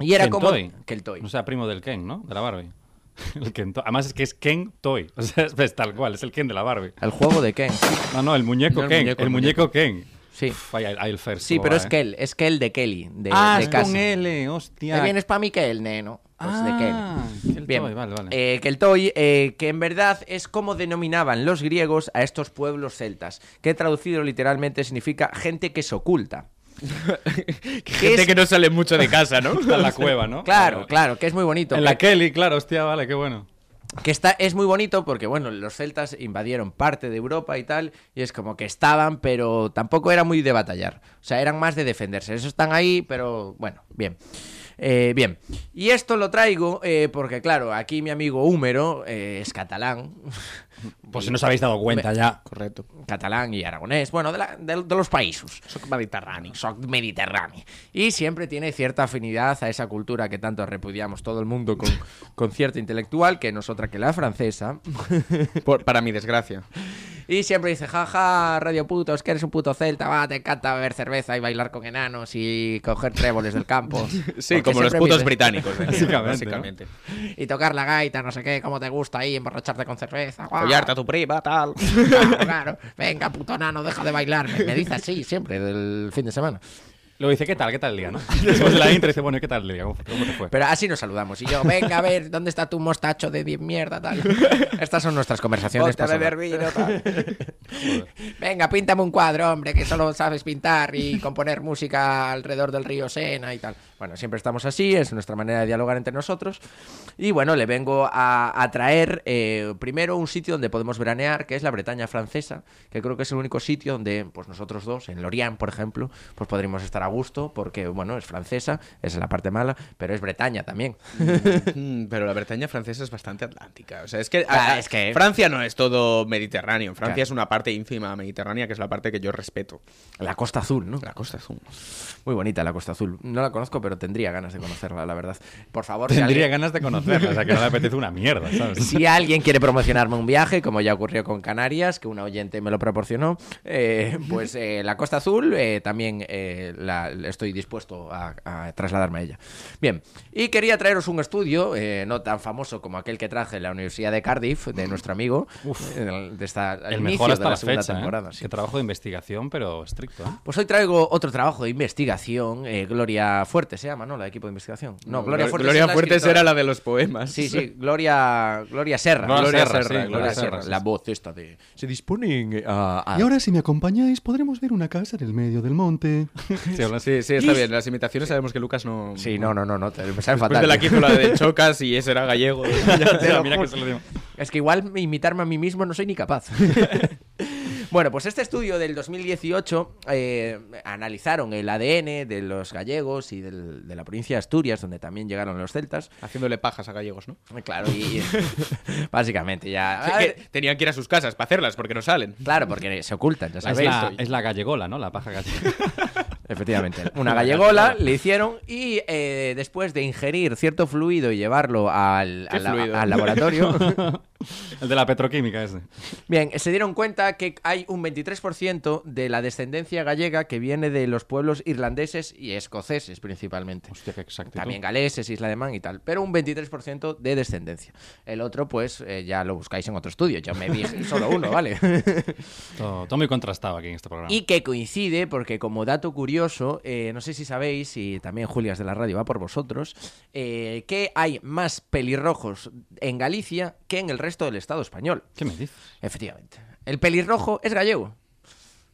Speaker 1: Y era como...
Speaker 4: Kentoy.
Speaker 1: Keltoi.
Speaker 4: O sea, primo del Ken, ¿no? De la Barbie. (laughs) El Ken Toy. Además es que es Ken Toy. (laughs) O sea, es, es tal cual, es el Ken de la Barbie.
Speaker 1: El juego de Ken.
Speaker 4: No, no, el muñeco
Speaker 1: No, el
Speaker 4: Ken.
Speaker 1: muñeco,
Speaker 4: el
Speaker 1: el
Speaker 4: muñeco, Ken.
Speaker 1: Sí.
Speaker 4: Uf, ahí- ahí el first.
Speaker 1: Sí,
Speaker 4: como
Speaker 1: pero
Speaker 4: va,
Speaker 1: es
Speaker 4: ¿eh?
Speaker 1: Kel, es Kel de Kelly, de,
Speaker 4: Ah,
Speaker 1: de
Speaker 4: es
Speaker 1: casa.
Speaker 4: con L,
Speaker 1: Te
Speaker 4: hostia.
Speaker 1: vienes para mí, Kel, neno. Pues de Kel.
Speaker 4: Ah, Kel
Speaker 1: Bien.
Speaker 4: Toy, vale, vale. (laughs)
Speaker 1: Eh, Keltoi, eh, que en verdad es como denominaban los griegos a estos pueblos celtas, que traducido literalmente significa gente que se oculta.
Speaker 3: Gente
Speaker 1: es-
Speaker 3: que no sale mucho
Speaker 4: (laughs)
Speaker 3: de casa,
Speaker 1: (laughs)
Speaker 3: ¿no?
Speaker 4: Está en la cueva, ¿no?
Speaker 1: Claro, claro, que es muy bonito.
Speaker 4: En la
Speaker 1: que,
Speaker 4: Kelly, claro, hostia, vale, qué bueno.
Speaker 1: que está, es muy bonito porque, bueno, los celtas invadieron parte de Europa y tal, y es como que estaban, pero tampoco era muy de batallar. O sea, eran más de defenderse. Esos están ahí, pero bueno, bien. Eh, bien, y esto lo traigo eh, porque, claro, aquí mi amigo Húmero eh, es catalán, (laughs)
Speaker 4: Pues si no os habéis dado cuenta ya.
Speaker 3: Correcto.
Speaker 1: catalán y aragonés, bueno, de, la- de- de los países. Soc mediterráneo. Soc mediterráneo. Y siempre tiene cierta afinidad a esa cultura que tanto repudiamos todo el mundo con, con cierto intelectual, que no es otra que la francesa.
Speaker 3: Por- para mi desgracia.
Speaker 1: Y siempre dice, jaja, radio putos, que eres un puto celta, va, te encanta beber cerveza y bailar con enanos y coger tréboles del campo.
Speaker 3: (laughs) Sí,
Speaker 1: Porque
Speaker 3: como los
Speaker 1: siempre
Speaker 3: putos
Speaker 1: me dice-
Speaker 3: británicos. de mierda, básicamente.
Speaker 4: Básicamente,
Speaker 1: Y tocar la gaita, no sé qué, cómo te gusta ahí, emborracharte con cerveza. guau.
Speaker 3: Follarte a tu prima, tal.
Speaker 1: (laughs) Claro, claro. Venga, puto nano, deja de bailar. Me, me dice así siempre, del fin de semana.
Speaker 4: Luego dice, ¿qué tal? ¿Qué tal el día? ¿no? (laughs) Y Después de la intro dice, bueno, ¿y ¿qué tal el día? ¿Cómo, cómo te fue?
Speaker 1: Pero así nos saludamos. Y yo, venga, a ver, ¿dónde está tu mostacho de bien mierda?
Speaker 3: (laughs)
Speaker 1: Tal. Estas son nuestras conversaciones.
Speaker 8: Ponte a beber
Speaker 1: pasadas.
Speaker 8: vino, tal.
Speaker 1: Venga, píntame un cuadro, hombre, que solo sabes pintar y componer música alrededor del río Sena y tal. Bueno, siempre estamos así, es nuestra manera de dialogar entre nosotros. Y bueno, le vengo a, a traer eh, primero un sitio donde podemos veranear, que es la Bretaña francesa, que creo que es el único sitio donde pues nosotros dos, en Lorient, por ejemplo, pues podríamos estar a gusto, porque bueno, es francesa, esa es la parte mala, pero es Bretaña también.
Speaker 3: Mm, Pero la Bretaña francesa es bastante atlántica. O sea, es que,
Speaker 1: Ah,
Speaker 3: a-
Speaker 1: es que-
Speaker 3: Francia no es todo mediterráneo. Francia
Speaker 1: Claro.
Speaker 3: es una parte ínfima mediterránea que es la parte que yo respeto.
Speaker 1: La Costa Azul, ¿no?
Speaker 3: La costa azul.
Speaker 1: Muy bonita la Costa Azul. No la conozco, pero tendría ganas de conocerla, la verdad. Por favor, si
Speaker 4: Tendría
Speaker 1: alguien-
Speaker 4: ganas de conocerla, o sea, que no le apetece una mierda, ¿sabes?
Speaker 1: Si alguien quiere promocionarme un viaje, como ya ocurrió con Canarias, que una oyente me lo proporcionó, eh, pues eh, la Costa Azul eh, también eh, la- estoy dispuesto a, a trasladarme a ella. Bien, y quería traeros un estudio, eh, no tan famoso como aquel que traje en la Universidad de Cardiff, de nuestro amigo, eh, de esta, al
Speaker 4: El
Speaker 1: inicio
Speaker 4: mejor
Speaker 1: de
Speaker 4: hasta
Speaker 1: la
Speaker 4: la
Speaker 1: segunda
Speaker 4: fecha, ¿eh?
Speaker 1: temporada. sí.
Speaker 4: Que trabajo de investigación, pero estricto, ¿eh?
Speaker 1: Pues hoy traigo otro trabajo de investigación, eh, Gloria Fuerte se llama, ¿no? La de equipo de investigación. No, Gloria Fuerte
Speaker 3: Gloria
Speaker 1: es la
Speaker 3: Fuertes
Speaker 1: escritora.
Speaker 3: era la de los poemas.
Speaker 1: Sí, sí, Gloria, Gloria Serra.
Speaker 4: Gloria Serra, sí,
Speaker 1: Gloria,
Speaker 4: Gloria
Speaker 1: Serra.
Speaker 4: Serra, sí, Ah,
Speaker 1: La
Speaker 4: sí.
Speaker 1: voz esta de... Se disponen eh, a... a-
Speaker 9: Y ahora, si me acompañáis, podremos ver una casa en el medio del monte.
Speaker 4: Sí, habla
Speaker 3: (laughs)
Speaker 4: así.
Speaker 3: Sí, sí, está bien. Las imitaciones sabemos que Lucas no.
Speaker 1: Sí, no, no, no, no, te me sale
Speaker 3: Después de
Speaker 1: fatal.
Speaker 3: la que hizo
Speaker 1: (laughs)
Speaker 3: la de Chocas y ese era gallego.
Speaker 4: (laughs) Mira, mira que se lo digo.
Speaker 1: Es que igual me- imitarme a mí mismo no soy ni
Speaker 4: (laughs)
Speaker 1: capaz. bueno, pues este estudio del 2018 eh, analizaron el ADN de los gallegos y del- de la provincia de Asturias, donde también llegaron los celtas.
Speaker 3: Haciéndole pajas a gallegos, ¿no?
Speaker 1: Claro,
Speaker 4: (laughs)
Speaker 1: y básicamente ya...
Speaker 3: Sí, que tenían que ir a sus casas para hacerlas porque no salen.
Speaker 1: Claro, porque se ocultan, ya
Speaker 4: Es
Speaker 1: sabéis.
Speaker 4: la, es la gallegola, ¿no? La paja gallega.
Speaker 1: (laughs) Efectivamente. Una gallegola le hicieron y eh, después de ingerir cierto fluido y llevarlo al,
Speaker 3: ¿Qué
Speaker 1: al la-
Speaker 3: fluido?
Speaker 1: al laboratorio,
Speaker 4: El de la petroquímica ese.
Speaker 1: bien, se dieron cuenta que hay un 23% de la descendencia gallega que viene de los pueblos irlandeses y escoceses principalmente.
Speaker 4: Hostia, qué exactitud.
Speaker 1: También galeses, isla de man y tal, pero un 23% de descendencia. El otro, pues, eh, ya lo buscáis en otro estudio. Yo me dije (laughs) solo uno, ¿vale?
Speaker 4: Todo, todo muy contrastado aquí en este programa.
Speaker 1: Y que coincide, porque como dato curioso, eh, no sé si sabéis, y también Julias de la Radio va por vosotros, eh, que hay más pelirrojos en Galicia que en el resto del Estado español.
Speaker 4: ¿Qué me dices?
Speaker 1: Efectivamente. El pelirrojo es gallego.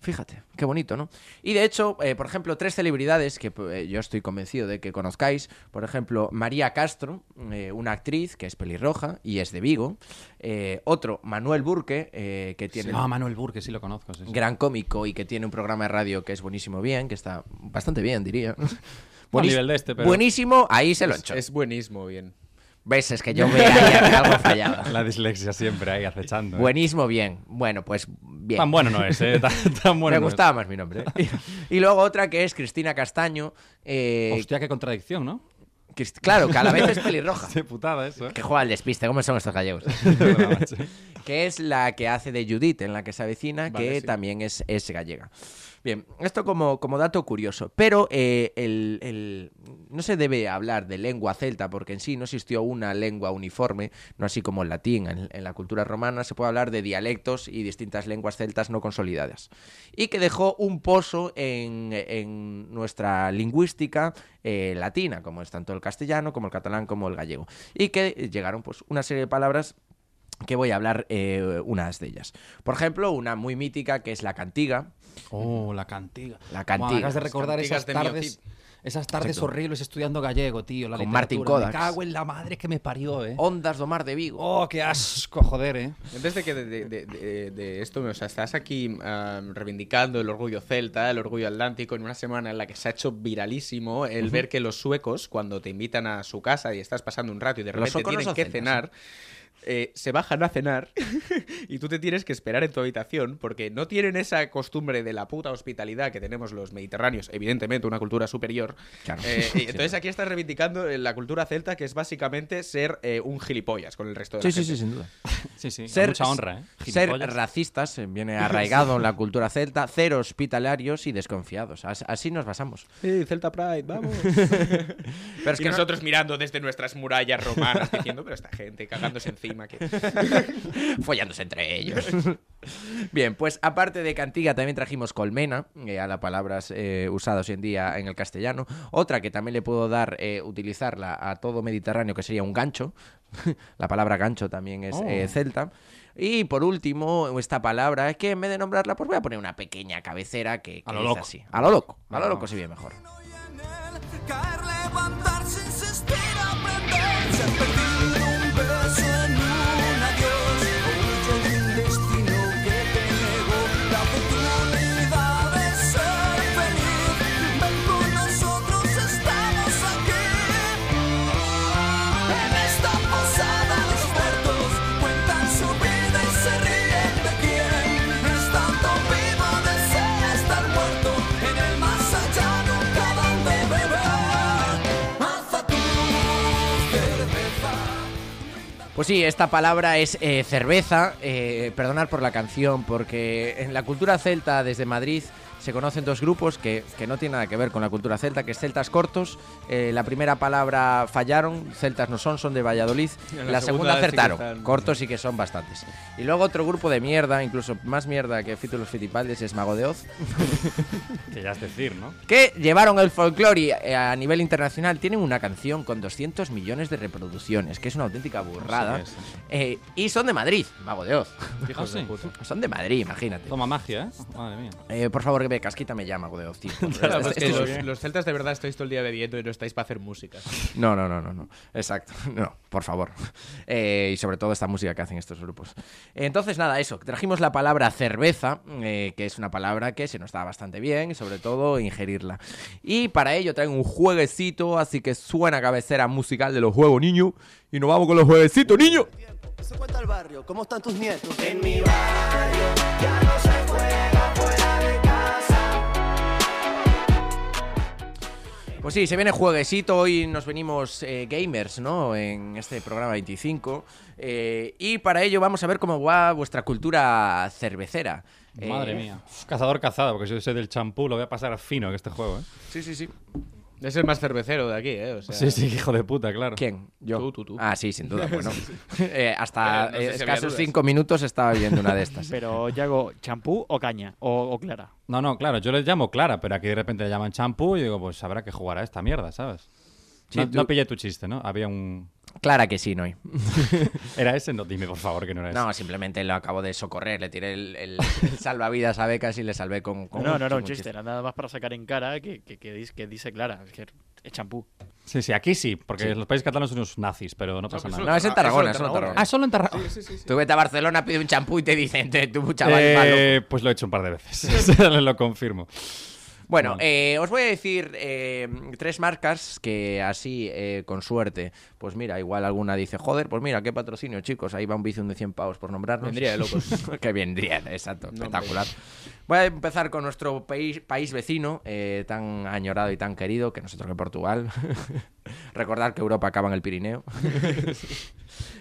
Speaker 1: Fíjate, qué bonito, ¿no? Y de hecho, eh, por ejemplo, tres celebridades que eh, yo estoy convencido de que conozcáis. Por ejemplo, María Castro, eh, una actriz que es pelirroja y es de Vigo. Eh, otro, Manuel Burke, eh, que tiene...
Speaker 4: Ah, Manuel Burke, sí lo conozco. sí, sí.
Speaker 1: gran cómico y que tiene un programa de radio que es buenísimo bien, que está bastante bien,
Speaker 4: (laughs)
Speaker 1: diría.
Speaker 4: Al nivel de este, pero-
Speaker 1: Buenísimo, ahí se lo
Speaker 3: Es,
Speaker 1: encho.
Speaker 3: es buenismo, bien.
Speaker 1: Ves,
Speaker 4: (laughs)
Speaker 1: es que yo me algo fallaba.
Speaker 4: (laughs) La dislexia siempre ahí acechando. ¿eh?
Speaker 1: Buenísimo, bien. Bueno, pues bien.
Speaker 4: Tan bueno no es, ¿eh?
Speaker 1: (laughs)
Speaker 4: Tan, tan bueno
Speaker 1: Me
Speaker 4: no es.
Speaker 1: gustaba más mi
Speaker 4: (laughs)
Speaker 1: nombre. Y luego otra que es Cristina Castaño. eh,
Speaker 4: Hostia, qué contradicción, ¿no?
Speaker 1: Crist- claro, que a la vez
Speaker 4: (laughs)
Speaker 1: es pelirroja.
Speaker 4: Qué putada
Speaker 1: (laughs)
Speaker 4: eso, ¿eh?
Speaker 1: Que juega al despiste, ¿cómo son estos gallegos?
Speaker 4: De verdad, macho.
Speaker 1: que es la que hace de Judith en la que se avecina,
Speaker 3: Vale,
Speaker 1: que
Speaker 3: sí.
Speaker 1: también es, es gallega. Bien, esto como, como dato curioso, pero eh, el, el- no se debe hablar de lengua celta porque en sí no existió una lengua uniforme, no así como el latín en, en la cultura romana, se puede hablar de dialectos y distintas lenguas celtas no consolidadas. Y que dejó un pozo en, en nuestra lingüística eh, latina, como es tanto el castellano, como el catalán, como el gallego. Y que llegaron pues una serie de palabras que voy a hablar eh, unas de ellas. Por ejemplo, una muy mítica que es la cantiga.
Speaker 4: Oh, la cantiga.
Speaker 1: La
Speaker 4: Buah,
Speaker 1: cantiga.
Speaker 4: acabas de
Speaker 1: Las
Speaker 4: recordar
Speaker 3: cantigas
Speaker 4: esas
Speaker 3: de
Speaker 4: tardes. Esas tardes horribles estudiando gallego, tío. La
Speaker 1: Con
Speaker 4: literatura.
Speaker 1: Martin Kodak.
Speaker 4: Me cago en la madre que me parió, ¿eh?
Speaker 1: Ondas do Mar de Vigo.
Speaker 4: Oh, qué asco, joder, ¿eh?
Speaker 3: Antes de que de, de- de- de- de esto, o sea, estás aquí ah, reivindicando el orgullo celta, el orgullo atlántico, en una semana en la que se ha hecho viralísimo el ver que los suecos, cuando te invitan a su casa y estás pasando un rato y de repente
Speaker 1: suecos no
Speaker 3: tienen
Speaker 1: son
Speaker 3: que
Speaker 1: celtas, ¿eh?
Speaker 3: cenar, eh, se bajan a cenar (laughs) y tú te tienes que esperar en tu habitación porque no tienen esa costumbre de la puta hospitalidad que tenemos los mediterráneos, evidentemente una cultura superior.
Speaker 1: Claro.
Speaker 3: Eh,
Speaker 1: (laughs)
Speaker 3: y entonces aquí estás reivindicando eh, la cultura celta que es básicamente ser eh, un gilipollas con el resto de la gente.
Speaker 1: sin duda.
Speaker 4: Sí, sí.
Speaker 1: Ser,
Speaker 4: Ser, mucha honra, ¿eh?
Speaker 1: ser
Speaker 4: Gilipollas.
Speaker 1: racistas eh,
Speaker 3: (laughs)
Speaker 1: viene arraigado en la cultura celta, cero hospitalarios y desconfiados. As- Así nos basamos.
Speaker 3: Sí, Celta Pride, vamos.
Speaker 1: Pero es
Speaker 3: y
Speaker 1: que no-
Speaker 3: nosotros mirando desde nuestras murallas romanas diciendo, pero esta gente cagándose encima.
Speaker 4: (laughs)
Speaker 3: Que...
Speaker 1: follándose entre ellos. (laughs) Bien, pues aparte de cantiga también trajimos colmena, eh, a las palabras eh, usadas hoy en día en el castellano. Otra que también le puedo dar, eh, utilizarla a todo Mediterráneo, que sería un gancho. (laughs) la palabra gancho también es
Speaker 4: Oh.
Speaker 1: eh, celta. Y por último, esta palabra, es que en vez de nombrarla, pues voy a poner una pequeña cabecera que, que
Speaker 4: A lo
Speaker 1: es
Speaker 4: loco.
Speaker 1: así. A lo loco. A lo
Speaker 4: Ah.
Speaker 1: loco sí bien mejor.
Speaker 7: Y en él, caer, levantarse, insistir, aprender. Se ha perdido un beso en un adiós. O mucho de un destino que te negó la oportunidad de ser feliz. Ven con nosotros, estamos aquí. En esta posada los muertos cuentan su vida y se ríen de quien es tanto vivo desea estar muerto. En el más allá nunca dan de beber. Hasta tu cerveza.
Speaker 1: Pues sí, esta palabra es eh, cerveza. Eh, perdonad por la canción, porque en la cultura celta desde Madrid se conocen dos grupos que, que no tienen nada que ver con la cultura celta, que es celtas cortos. Eh, la primera palabra fallaron, celtas no son, son de Valladolid. La, segunda,
Speaker 5: la segunda sí que
Speaker 1: acertaron,
Speaker 5: están-
Speaker 1: cortos sí que son bastantes. Y luego otro grupo de mierda, incluso más mierda que Fítulos Fitipaldes, es Mago de Oz
Speaker 4: Que ya es decir, ¿no?
Speaker 1: que llevaron el folclore eh, a nivel internacional, tienen una canción con 200 millones de reproducciones, que es una auténtica burrada.
Speaker 4: sí,
Speaker 1: Eh, y son de Madrid, mago de Oz. (laughs)
Speaker 4: Hijos de puta.
Speaker 1: Son de Madrid, imagínate.
Speaker 4: Toma magia, ¿eh? Madre mía.
Speaker 1: Eh, por favor, Becas, quítame ya, mago de Oz,
Speaker 3: (laughs)
Speaker 1: tío.
Speaker 3: Claro, pues
Speaker 1: Esto-
Speaker 3: que
Speaker 1: esto-
Speaker 3: los, los celtas de verdad estáis todo el día bebiendo y no estáis para hacer música.
Speaker 1: No, no, no, no, no. Exacto. (laughs) No, por favor. Eh, y sobre todo esta música que hacen estos grupos. Entonces, nada, eso. Trajimos la palabra cerveza, eh, que es una palabra que se nos da bastante bien, sobre todo ingerirla. Y para ello traigo un jueguecito, así que suena cabecera musical de los juegos, niño. Y nos vamos con los jueguecitos, niño.
Speaker 7: Se cuenta el barrio, ¿cómo están tus nietos? En mi
Speaker 1: Pues sí, se viene jueguecito, hoy nos venimos eh, gamers, ¿no? En este programa 25. eh, y para ello vamos a ver cómo va vuestra cultura cervecera. Eh,
Speaker 4: Madre mía. Cazador cazado, porque yo soy del champú, lo voy a pasar fino en este juego, ¿eh?
Speaker 1: Sí, sí, sí.
Speaker 3: Es el más cervecero de aquí, ¿eh? O sea,
Speaker 4: Sí, sí, hijo de puta, claro.
Speaker 1: ¿Quién? Yo.
Speaker 3: Tú, tú, tú.
Speaker 1: Ah, sí, sin duda.
Speaker 3: (laughs)
Speaker 1: Bueno, (laughs) Eh, hasta
Speaker 3: Eh, no sé
Speaker 1: eh,
Speaker 3: si había
Speaker 1: escasos
Speaker 3: dudas.
Speaker 1: cinco minutos estaba viendo
Speaker 3: (laughs)
Speaker 1: una de estas.
Speaker 8: Pero yo hago champú o caña, o, o clara.
Speaker 4: No, no, claro, yo le llamo Clara, pero aquí de repente le llaman champú y digo, pues habrá que jugar a esta mierda, ¿sabes?
Speaker 1: Sí,
Speaker 4: no,
Speaker 1: tú-
Speaker 4: no pillé tu chiste, ¿no? Había un...
Speaker 1: Clara que sí, Noy.
Speaker 4: ¿Era ese? No, dime, por favor, que no era ese.
Speaker 1: No, simplemente lo acabo de socorrer. Le tiré el, el-
Speaker 3: (laughs)
Speaker 1: el salvavidas a becas y le salvé con.
Speaker 4: Oh,
Speaker 1: con-
Speaker 8: No, no, no,
Speaker 1: con
Speaker 8: un chiste, era nada más para sacar en cara que, que, que dis- que dice clara, es que es champú.
Speaker 4: Sí, sí, aquí sí, porque los países catalanes son unos nazis, pero no pasa
Speaker 3: pues
Speaker 4: nada.
Speaker 1: No, es en Tarragona,
Speaker 3: Eso en
Speaker 1: es en
Speaker 3: Tarragona.
Speaker 1: Tarragona.
Speaker 4: Ah, solo en Tarragona.
Speaker 1: Tú vete a Barcelona, pide un champú y te dicen, "Te- tú, chaval, malo.
Speaker 4: Eh, pues lo he hecho un par de veces, (laughs) lo confirmo.
Speaker 1: Bueno, eh, os voy a decir eh, tres marcas que así, eh, con suerte, pues mira, igual alguna dice, joder, pues mira, qué patrocinio, chicos, ahí va un bici de 100 pavos por nombrarnos.
Speaker 3: Vendría de locos.
Speaker 1: (laughs) que vendría, exacto, espectacular. Voy a empezar con nuestro país, país vecino, eh, tan añorado y tan querido que nosotros que Portugal. (laughs) Recordar que Europa acaba en el
Speaker 3: (laughs)
Speaker 1: Pirineo.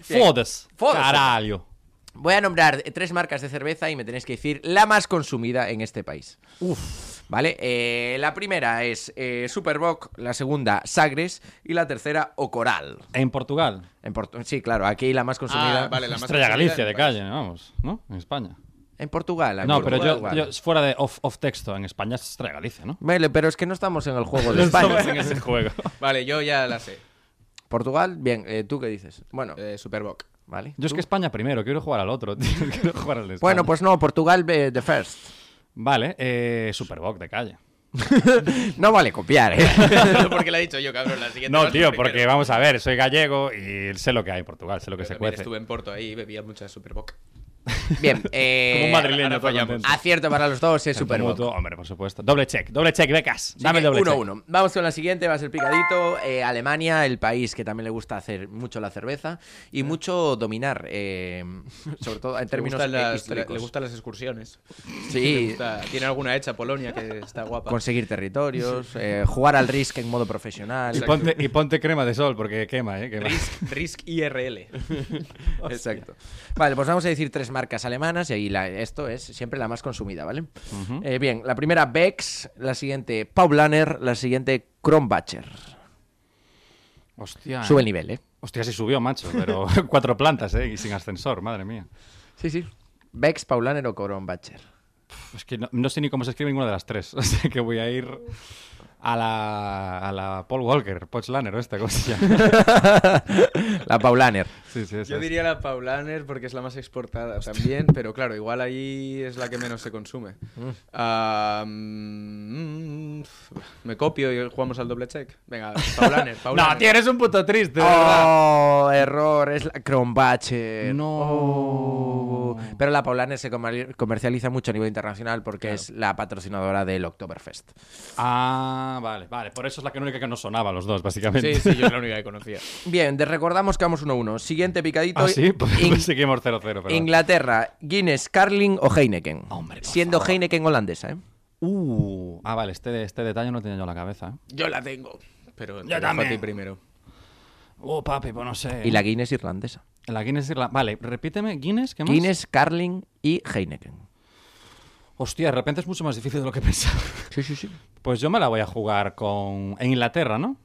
Speaker 4: Fodes.
Speaker 1: Fodes.
Speaker 4: Caralho.
Speaker 1: Voy a nombrar eh, tres marcas de cerveza y me tenéis que decir la más consumida en este país. Uf. Vale, eh, la primera es eh, Superbock, la segunda Sagres y la tercera Ocoral.
Speaker 4: En Portugal.
Speaker 1: En Portu- sí, claro, aquí la más consumida.
Speaker 3: Ah, vale, la más
Speaker 4: Estrella
Speaker 3: consumida
Speaker 4: Galicia
Speaker 3: en
Speaker 4: de
Speaker 3: París.
Speaker 4: calle, vamos, ¿no? En España.
Speaker 1: En Portugal. en
Speaker 4: No, pero yo,
Speaker 1: Portugal.
Speaker 4: yo- fuera de off, off texto, en España es Estrella Galicia, ¿no?
Speaker 1: Vale, pero es que no estamos en el
Speaker 4: (laughs)
Speaker 1: juego de
Speaker 4: No estamos
Speaker 1: España.
Speaker 4: en ese juego.
Speaker 3: Vale, yo ya la sé.
Speaker 1: Portugal, bien, eh, ¿tú qué dices? Bueno,
Speaker 3: Eh,
Speaker 4: (laughs)
Speaker 3: Superbock.
Speaker 1: vale.
Speaker 4: Yo es
Speaker 1: ¿tú?
Speaker 4: que España primero, quiero jugar al otro, tío, (laughs) quiero jugar al de España.
Speaker 1: Bueno, pues no, Portugal eh, the
Speaker 4: (laughs)
Speaker 1: first.
Speaker 4: Vale, eh, Superbock de calle.
Speaker 1: No vale copiar, ¿eh?
Speaker 3: (laughs) porque la he dicho yo, cabrón. La siguiente
Speaker 4: No,
Speaker 3: vas tú
Speaker 4: tío,
Speaker 3: primero.
Speaker 4: porque vamos a ver, soy gallego y sé lo que hay en Portugal, sé lo que
Speaker 3: Yo
Speaker 4: se
Speaker 3: también
Speaker 4: cuece.
Speaker 3: Estuve en Porto ahí y bebía mucha Superbock.
Speaker 1: Bien, eh,
Speaker 4: Como un madrileño, todo
Speaker 3: fallamos.
Speaker 4: contento.
Speaker 1: Acierto para los dos, eh, es
Speaker 4: Tanto
Speaker 1: Superbock.
Speaker 4: mutuo, Hombre, por supuesto. Doble check, doble check, becas.
Speaker 1: Así
Speaker 4: Dame el
Speaker 1: que
Speaker 4: doble
Speaker 1: uno,
Speaker 4: check.
Speaker 1: uno. Vamos con la siguiente, va a ser picadito. Eh, Alemania, el país que también le gusta hacer mucho la cerveza y mucho dominar, eh, sobre todo en
Speaker 3: Le
Speaker 1: términos
Speaker 3: gustan
Speaker 1: eh,
Speaker 3: las- le,
Speaker 1: históricos.
Speaker 3: le gustan las excursiones.
Speaker 1: Sí,
Speaker 3: Le gusta- tiene alguna hecha Polonia que está guapa.
Speaker 4: Pues-
Speaker 1: conseguir territorios, eh, jugar al Risk en modo profesional.
Speaker 4: Y
Speaker 1: (laughs)
Speaker 4: ponte, y ponte crema de sol porque quema, ¿eh? Quema.
Speaker 3: Risk, Risk
Speaker 4: (laughs)
Speaker 3: IRL.
Speaker 1: Exacto. Vale, pues vamos a decir tres marcas alemanas y ahí la- esto es siempre la más consumida, ¿vale? Eh, bien, la primera Bex, la siguiente Paulaner, la siguiente Kronbacher.
Speaker 4: Hostia. Ah.
Speaker 1: Sube el nivel, ¿eh?
Speaker 4: Hostia, se subió, macho, pero (laughs) cuatro plantas, ¿eh? Y sin ascensor, madre mía.
Speaker 1: Sí, sí. Bex, Paulaner o Coron Batcher.
Speaker 4: Es que no, no sé ni cómo se escribe ninguna de las tres, (laughs) así que voy a ir a la, a la Paul Walker, Pochlaner o esta cosa.
Speaker 1: (laughs) La Paulaner.
Speaker 4: (laughs) Sí, sí, esa
Speaker 3: Yo
Speaker 4: es.
Speaker 3: diría la Paulaner porque es la más exportada también, pero claro, igual ahí es la que menos se consume. Ah, mm, me copio y jugamos al doble check. Venga, Paulaner, Paulaner.
Speaker 4: (laughs) No, tío, eres un puto triste, de verdad.
Speaker 1: ¡Oh! Error, es la Cronbacher.
Speaker 4: No.
Speaker 3: Oh.
Speaker 1: Pero la Paulaner se comer- comercializa mucho a nivel internacional porque es la patrocinadora del Oktoberfest.
Speaker 4: Ah, vale, vale. Por eso es la que única que nos sonaba a los dos,
Speaker 3: Sí,
Speaker 4: básicamente.
Speaker 3: sí, yo es la única que conocía.
Speaker 1: Bien, te recordamos que vamos 1-1. Siguiente picadito.
Speaker 4: (laughs) Ah, sí, (laughs)
Speaker 1: In-
Speaker 4: pues seguimos 0-0. pero-
Speaker 1: Inglaterra, Guinness, Carling o Heineken.
Speaker 4: Hombre, por
Speaker 1: Siendo
Speaker 4: favor.
Speaker 1: Heineken holandesa, ¿eh?
Speaker 4: Uh, ah, vale, este, este detalle no tenía yo en la cabeza. ¿eh?
Speaker 3: Yo la tengo. Pero te
Speaker 4: Yo
Speaker 3: dejo a
Speaker 4: también.
Speaker 3: ti primero.
Speaker 4: Oh, papi, pues no sé.
Speaker 1: Y la Guinness irlandesa.
Speaker 4: La Guinness Irlanda. Vale, repíteme, Guinness, ¿qué más?
Speaker 1: Guinness, Carling y Heineken.
Speaker 4: Hostia, de repente es mucho más difícil de lo que (laughs) pensaba.
Speaker 1: Sí, sí, sí.
Speaker 4: Pues yo me la voy a jugar con. En Inglaterra, ¿no?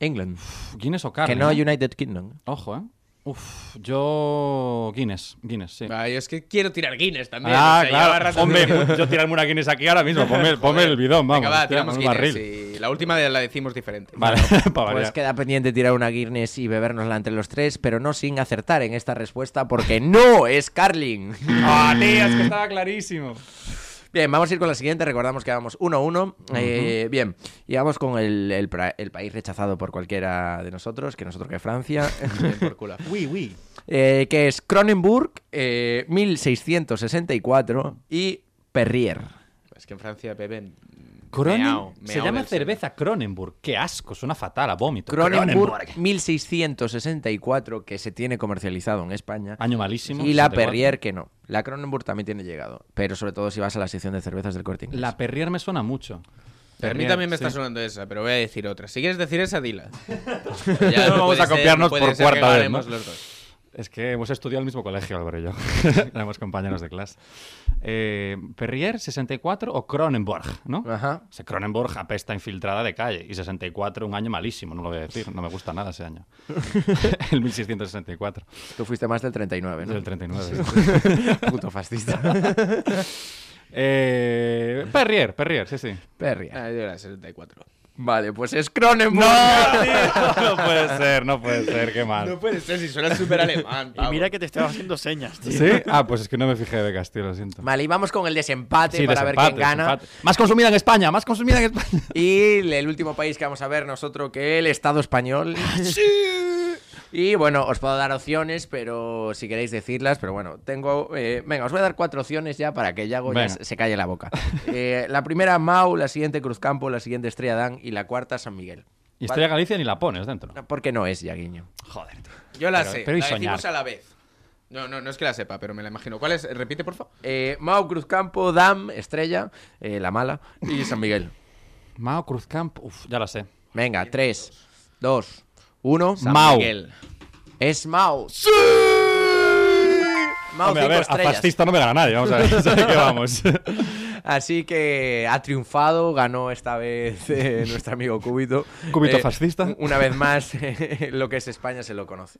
Speaker 1: England.
Speaker 4: Uf, Guinness o Carling.
Speaker 1: que no
Speaker 4: ¿eh?
Speaker 1: United Kingdom.
Speaker 4: Ojo, ¿eh? Uf, yo. Guinness, Guinness, sí.
Speaker 3: Ay, es que quiero tirar Guinness también.
Speaker 4: Ah,
Speaker 3: o sea, lleva
Speaker 4: claro.
Speaker 3: rato-
Speaker 4: Hombre, yo tirarme una Guinness aquí ahora mismo. Ponme, ponme el bidón, vamos.
Speaker 3: Venga, va,
Speaker 4: hostia,
Speaker 3: tiramos
Speaker 4: un
Speaker 3: Guinness
Speaker 4: barril.
Speaker 3: y la última la decimos diferente.
Speaker 4: Vale, (laughs) para
Speaker 1: Pues
Speaker 4: variar.
Speaker 1: queda pendiente tirar una Guinness y bebérnosla entre los tres, pero no sin acertar en esta respuesta porque (laughs) no es Carling.
Speaker 4: ¡Ah, tío! Es que estaba clarísimo.
Speaker 1: (laughs) Bien, vamos a ir con la siguiente. Recordamos que vamos 1-1. Eh, bien, y vamos con el, el pra- el país rechazado por cualquiera de nosotros, que nosotros que Francia, (laughs)
Speaker 3: Bien, por culo.
Speaker 4: Uy, uy.
Speaker 1: eh, que es Cronenburg, eh, 1664 y Perrier.
Speaker 3: Es que en Francia beben. meao,
Speaker 4: Cronen... Se
Speaker 3: meao
Speaker 4: llama
Speaker 3: del cielo.
Speaker 4: cerveza Cronenburg. ¡Qué asco! Suena fatal a vómito.
Speaker 1: Cronenburg 1664 que se tiene comercializado en España
Speaker 4: Año malísimo.
Speaker 1: y la
Speaker 4: 64.
Speaker 1: Perrier que no. La Cronenburg también tiene llegado, pero sobre todo si vas a la sección de cervezas del Corte Inglés.
Speaker 4: La Perrier me suena mucho.
Speaker 3: Pero a mí
Speaker 4: Perrier,
Speaker 3: también me está
Speaker 4: sí.
Speaker 3: sonando esa, pero voy a decir otra. Si quieres decir esa, (laughs) dila. Ya
Speaker 4: No vamos
Speaker 3: puede
Speaker 4: a
Speaker 3: ser-
Speaker 4: copiarnos
Speaker 3: puede ser
Speaker 4: por
Speaker 3: que
Speaker 4: cuarta vez,
Speaker 3: ganemos
Speaker 4: ¿no?
Speaker 3: los dos.
Speaker 4: Es que hemos estudiado el mismo colegio, Álvaro y yo. (laughs) Éramos compañeros de clase. Eh, Perrier, 64 o Cronenborg, ¿no?
Speaker 1: Ajá.
Speaker 4: O sea, Cronenborg apesta infiltrada de calle. Y 64, un año malísimo, no lo voy a decir. No me gusta nada ese (laughs) año. el 1664.
Speaker 1: Tú fuiste más del 39, ¿no?
Speaker 4: Del 39.
Speaker 1: (laughs) Puto
Speaker 4: (laughs)
Speaker 1: fascista.
Speaker 4: Eh, Perrier, Perrier, sí, sí.
Speaker 1: Perrier.
Speaker 3: Ah, yo era 74.
Speaker 1: Vale, pues es Cronenburg.
Speaker 4: (laughs) no puede ser, no puede ser, qué mal.
Speaker 3: No puede ser, si suena súper
Speaker 4: (laughs)
Speaker 3: alemán.
Speaker 4: Ah,
Speaker 8: Y mira que te estaba haciendo señas, tío.
Speaker 4: ¿Sí? Ah, pues es que no me fijé de Castillo, lo siento.
Speaker 1: Vale, y vamos con el desempate
Speaker 4: Sí,
Speaker 1: para ver
Speaker 4: desempate,
Speaker 1: quién gana.
Speaker 4: desempate. Más consumida en España, más consumida en España.
Speaker 1: Y el último país que vamos a ver nosotros que el Estado español. Y bueno, os puedo dar opciones, pero si queréis decirlas, pero bueno, tengo... eh, venga, os voy a dar cuatro opciones ya para que Yago ya
Speaker 4: Venga.
Speaker 1: se se calle la boca. Eh, la primera Mau, la siguiente Cruzcampo, la siguiente Estrella Dan y la cuarta San Miguel.
Speaker 4: Y Estrella Galicia ni la pones dentro.
Speaker 1: Porque no es Yaguiño.
Speaker 4: Joder, tío.
Speaker 3: Yo la
Speaker 4: Pero-
Speaker 3: sé,
Speaker 4: pero y
Speaker 3: la decimos
Speaker 4: soñar.
Speaker 3: a la vez. No, no, no es que la sepa, pero me la imagino. ¿Cuál es? Repite, por favor.
Speaker 1: Eh, Mau, Cruzcampo, Dam, Estrella, eh, la mala y San Miguel.
Speaker 4: Mao Cruzcamp, uff, ya la sé.
Speaker 1: Venga, tres, dos, uno.
Speaker 4: San Mau.
Speaker 3: Miguel.
Speaker 1: Es Mau. ¡Sí! Mau
Speaker 4: Hombre, a
Speaker 1: cinco
Speaker 4: ver, a
Speaker 1: estrellas.
Speaker 4: fascista no me gana nadie, vamos a ver, (laughs) ¿sabes qué vamos?
Speaker 1: Así que ha triunfado, ganó esta vez
Speaker 4: (laughs)
Speaker 1: eh, nuestro amigo Cúbito.
Speaker 4: Cúbito
Speaker 1: Eh,
Speaker 4: fascista.
Speaker 1: Una vez
Speaker 4: (laughs)
Speaker 1: más, eh, lo que es España se lo conoce.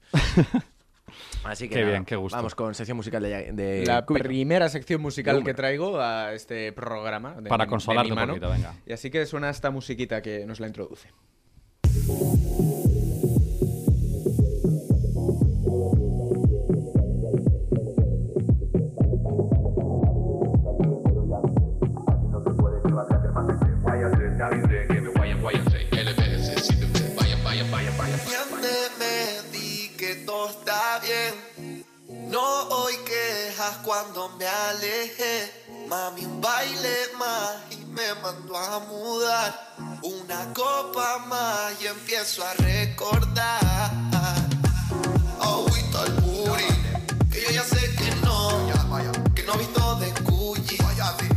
Speaker 1: Así que
Speaker 4: Qué
Speaker 1: nada,
Speaker 4: bien, qué gusto.
Speaker 1: vamos con sección musical de,
Speaker 4: Eh,
Speaker 1: de
Speaker 3: La
Speaker 1: Cúbito.
Speaker 3: primera sección musical que
Speaker 1: Número.
Speaker 3: traigo a este programa. de
Speaker 4: Para
Speaker 3: mi- de
Speaker 4: consolarte
Speaker 3: mi
Speaker 4: un
Speaker 3: mano.
Speaker 4: poquito, venga.
Speaker 3: Y así que suena esta musiquita que nos la introduce.
Speaker 7: Siempre me di que todo está bien. No hoy quejas cuando me alejé. Mami, un baile más y me mandó a mudar. Una copa más y empiezo a recordar. Agüita al booty, que yo ya sé que no. Que no he visto de Gucci,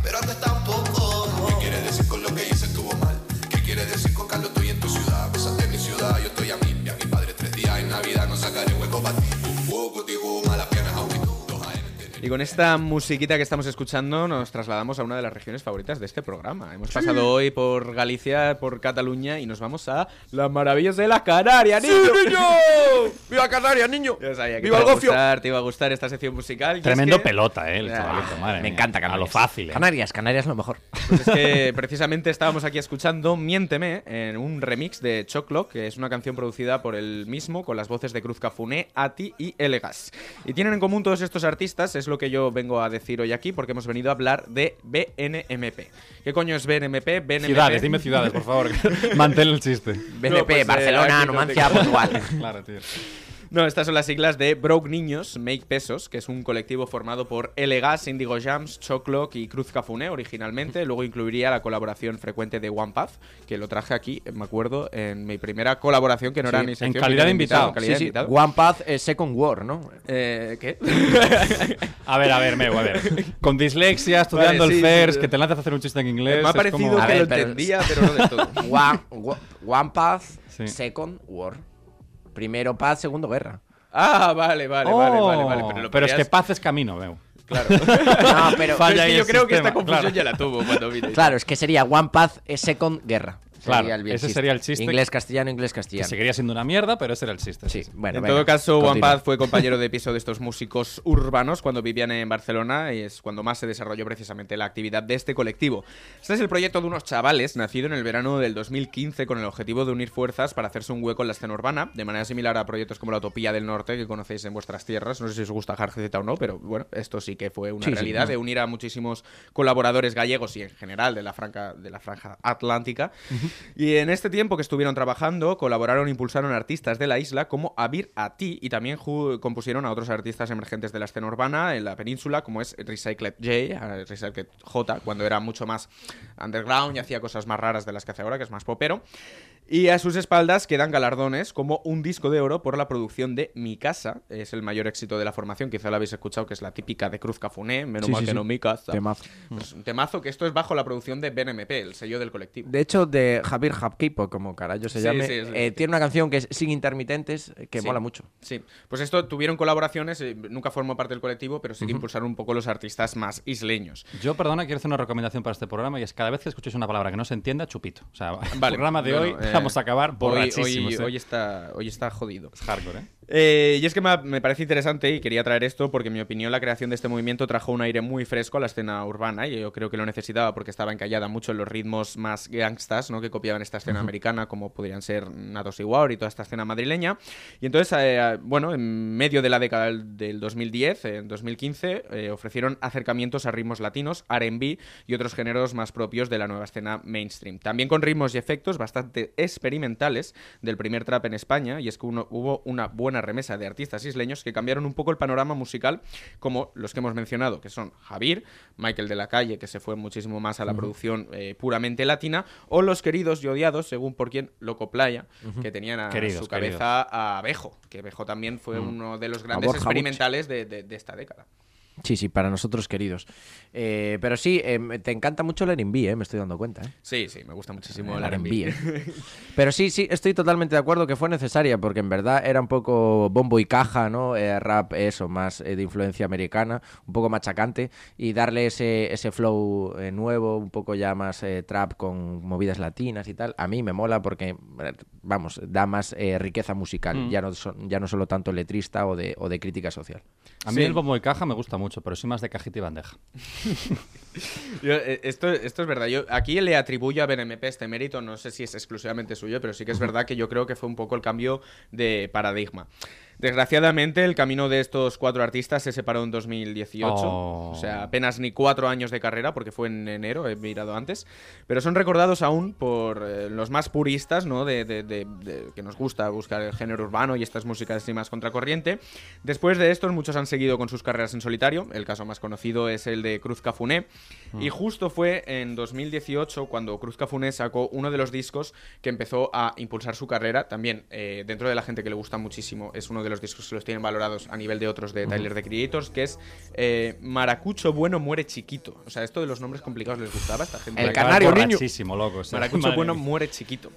Speaker 7: pero antes tampoco. ¿Qué quieres decir con lo que hice estuvo mal? ¿Qué quieres decir con Carlos? Estoy en tu ciudad, besate en mi ciudad, yo estoy a mí. Y a mi padre tres días en Navidad, no sacaré hueco para ti. Hueco, digo, malas piernas, aunque tú.
Speaker 1: Y
Speaker 3: Y con esta musiquita que estamos escuchando nos trasladamos a una de las regiones favoritas de este programa. Hemos pasado hoy por Galicia, por Cataluña y nos vamos a las maravillas de las Canarias, niño.
Speaker 1: ¡Viva Canarias, niño!
Speaker 3: Yo sabía que
Speaker 1: ¡Viva
Speaker 3: te
Speaker 1: el
Speaker 3: iba a
Speaker 1: gofio!
Speaker 3: gustar, te iba a gustar esta sección musical. y es
Speaker 4: Tremendo
Speaker 3: que-
Speaker 4: pelota, ¿eh? El
Speaker 3: Ah,
Speaker 4: chavalito, madre
Speaker 1: Me
Speaker 4: mía.
Speaker 1: encanta
Speaker 4: A
Speaker 1: Canarias.
Speaker 4: lo fácil. ¿eh?
Speaker 1: Canarias, Canarias lo
Speaker 4: (laughs)
Speaker 1: mejor.
Speaker 3: Pues es que precisamente estábamos aquí escuchando Miénteme en un remix de Choclo, que es una canción producida por él mismo con las voces de Cruz Cafuné, Ati y Elegas. Y tienen en común todos estos artistas, es lo que yo vengo a decir hoy aquí, porque hemos venido a hablar de BNMP. ¿Qué coño es BNMP? BNMP.
Speaker 4: Ciudades, dime ciudades, por favor.
Speaker 3: (laughs)
Speaker 4: Mantén el chiste.
Speaker 1: BNP,
Speaker 3: pues, eh,
Speaker 1: Barcelona,
Speaker 3: aquí no
Speaker 1: Numancia,
Speaker 3: te-
Speaker 1: Portugal.
Speaker 4: Claro, tío.
Speaker 3: No, estas son las siglas de Broke Niños, Make Pesos, que es un colectivo formado por L-Gas, Indigo Jams, Choclock y Cruz Cafuné originalmente. Luego incluiría la colaboración frecuente de One Path, que lo traje aquí, me acuerdo, en mi primera colaboración, que no era
Speaker 4: Sí,
Speaker 3: ni
Speaker 4: en
Speaker 3: sección. ni
Speaker 4: calidad de invitado.
Speaker 3: en (laughs) calidad de invitado.
Speaker 1: One Path eh, Second War, ¿no?
Speaker 3: Eh, ¿Qué?
Speaker 4: A ver, a ver, Megu, a ver. (laughs) Con dislexia, estudiando
Speaker 3: Vale, sí,
Speaker 4: el FERS,
Speaker 3: sí.
Speaker 4: que te lanzas a hacer un chiste en
Speaker 3: (laughs)
Speaker 4: inglés.
Speaker 3: me ha
Speaker 4: es
Speaker 3: parecido
Speaker 4: como-
Speaker 3: que
Speaker 1: A ver,
Speaker 3: lo
Speaker 1: pero-
Speaker 3: entendía, pero no del
Speaker 4: (laughs)
Speaker 3: todo.
Speaker 1: One, Wa- One Path
Speaker 4: Sí.
Speaker 1: Second War. Primero paz, segundo
Speaker 3: (laughs)
Speaker 1: guerra.
Speaker 3: Ah, vale, vale, vale, vale, vale. Pero, lo
Speaker 4: Oh, es que
Speaker 3: querías-
Speaker 4: paz es camino, Megu.
Speaker 3: Claro.
Speaker 1: No, pero,
Speaker 4: (laughs) Falla
Speaker 3: Pero es
Speaker 4: ahí
Speaker 3: que yo
Speaker 4: el
Speaker 3: creo que
Speaker 4: sistema,
Speaker 3: esta confusión
Speaker 4: claro.
Speaker 3: ya la tuvo cuando vine.
Speaker 1: claro, es que sería One Path eh, Second Guerra.
Speaker 4: Claro,
Speaker 1: bien
Speaker 4: ese sería el chiste.
Speaker 1: Inglés castellano, inglés
Speaker 4: Que
Speaker 1: castellano.
Speaker 4: seguiría siendo una mierda, pero ese era el chiste.
Speaker 1: Sí, bueno,
Speaker 3: en
Speaker 1: venga,
Speaker 3: todo caso, One
Speaker 1: continúa.
Speaker 3: Paz fue compañero de piso de estos músicos urbanos cuando vivían en Barcelona y es cuando más se desarrolló precisamente la actividad de este colectivo. Este es el proyecto de unos chavales nacido en el verano del 2015 con el objetivo de unir fuerzas para hacerse un hueco en la escena urbana, de manera similar a proyectos como la Utopía del Norte que conocéis en vuestras tierras. No sé si os gusta Hard Z o no, pero bueno, esto sí que fue una
Speaker 1: Sí, sí,
Speaker 3: realidad
Speaker 1: ¿no?
Speaker 3: de unir a muchísimos colaboradores gallegos y en general de la, franca, de la franja atlántica. Y en este tiempo que estuvieron trabajando, colaboraron e impulsaron artistas de la isla como Abir Ati y también ju- compusieron a otros artistas emergentes de la escena urbana en la península, como es Recycled J, eh, Recycled J, cuando era mucho más underground y hacía cosas más raras de las que hace ahora, que es más popero. Y a sus espaldas quedan galardones como un disco de oro por la producción de Mi Casa. Es el mayor éxito de la formación, quizá lo habéis escuchado, que es la típica de Cruz Cafuné, menos
Speaker 1: Sí,
Speaker 3: mal
Speaker 1: sí,
Speaker 3: que
Speaker 1: sí.
Speaker 3: no Mi Casa.
Speaker 1: Temazo.
Speaker 3: Pues un temazo que esto es bajo la producción de BNMP, el sello del colectivo.
Speaker 1: De hecho, de Javier Hapkipo, como carajo se
Speaker 3: Sí,
Speaker 1: llame,
Speaker 3: sí, sí,
Speaker 1: eh,
Speaker 3: sí.
Speaker 1: tiene una canción que es Sin Intermitentes eh, que
Speaker 3: Sí.
Speaker 1: mola mucho.
Speaker 3: Sí, pues esto tuvieron colaboraciones, eh, nunca formó parte del colectivo, pero sí que impulsaron un poco los artistas más isleños.
Speaker 4: Yo, perdona, quiero hacer una recomendación para este programa y es cada vez que escuchéis una palabra que no se entienda, chupito. O sea, el programa de
Speaker 3: bueno,
Speaker 4: hoy
Speaker 3: eh,
Speaker 4: vamos a acabar
Speaker 3: hoy, hoy,
Speaker 4: borrachísimos. ¿eh?
Speaker 3: hoy está, hoy está jodido.
Speaker 4: Es hardcore, ¿eh?
Speaker 3: Eh, y es que me, me parece interesante y quería traer esto porque, en mi opinión, la creación de este movimiento trajo un aire muy fresco a la escena urbana y yo creo que lo necesitaba porque estaba encallada mucho en los ritmos más gangstas ¿no? que copiaban esta escena americana, como podrían ser Natos y War y toda esta escena madrileña. Y entonces, eh, bueno, en medio de la década del del 2010, eh, en 2015, eh, ofrecieron acercamientos a ritmos latinos, RB y otros géneros más propios de la nueva escena mainstream. También con ritmos y efectos bastante experimentales del primer trap en España, y es que uno- hubo una buena remesa de artistas isleños que cambiaron un poco el panorama musical, como los que hemos mencionado, que son Javier, Michael de la Calle, que se fue muchísimo más a la producción eh, puramente latina, o los queridos y odiados, según por quien, Loco Playa, que tenían a
Speaker 4: Queridos,
Speaker 3: su cabeza
Speaker 4: queridos.
Speaker 3: a Bejo, que Bejo también fue uno de los grandes
Speaker 1: Borja Buch.
Speaker 3: experimentales de, de- de esta década.
Speaker 1: Sí, sí, para nosotros queridos. Eh, pero sí, em, te encanta mucho el R&B, eh, me estoy dando cuenta. eh.
Speaker 3: Sí, sí, me gusta muchísimo
Speaker 1: El
Speaker 3: el
Speaker 1: R&B,
Speaker 3: R&B.
Speaker 1: eh. (laughs) Pero sí, sí, estoy totalmente de acuerdo que fue necesaria, porque en verdad era un poco bombo y caja, ¿no? Eh, rap, eso, más eh, de influencia americana, un poco machacante, y darle ese, ese flow eh, nuevo, un poco ya más eh, trap con movidas latinas y tal, a mí me mola porque, eh, vamos, da más eh, riqueza musical,
Speaker 3: Mm.
Speaker 1: ya, no so- ya no solo tanto letrista o de, o de crítica social.
Speaker 4: A mí
Speaker 3: Sí.
Speaker 4: el bombo de caja me gusta mucho, pero soy más de cajita y bandeja.
Speaker 3: Yo, eh, esto, esto es verdad. Yo aquí le atribuyo a BNMP este mérito. No sé si es exclusivamente suyo, pero sí que es verdad que yo creo que fue un poco el cambio de paradigma. Desgraciadamente, el camino de estos cuatro artistas se separó en 2018.
Speaker 4: Oh.
Speaker 3: O sea, apenas ni cuatro años de carrera, porque fue en enero, he mirado antes. Pero son recordados aún por eh, los más puristas, ¿no? De, de- de- de- que nos gusta buscar el género urbano y estas músicas así más contracorriente. Después de estos, muchos han seguido con sus carreras en solitario. El caso más conocido es el de Cruz Cafuné, Y justo fue en 2018 cuando Cruz Cafuné sacó uno de los discos que empezó a impulsar su carrera. También eh, dentro de la gente que le gusta muchísimo, es uno de los discos que los tienen valorados a nivel de otros de Tyler The Creators, que es eh, Maracucho Bueno Muere Chiquito. O sea, esto de los nombres complicados les gustaba a esta gente.
Speaker 1: El
Speaker 3: Acaba-
Speaker 1: canario. niño.
Speaker 4: Borrachísimo, loco. o sea,
Speaker 3: Maracucho
Speaker 4: madre
Speaker 3: bueno
Speaker 4: mía.
Speaker 3: muere chiquito.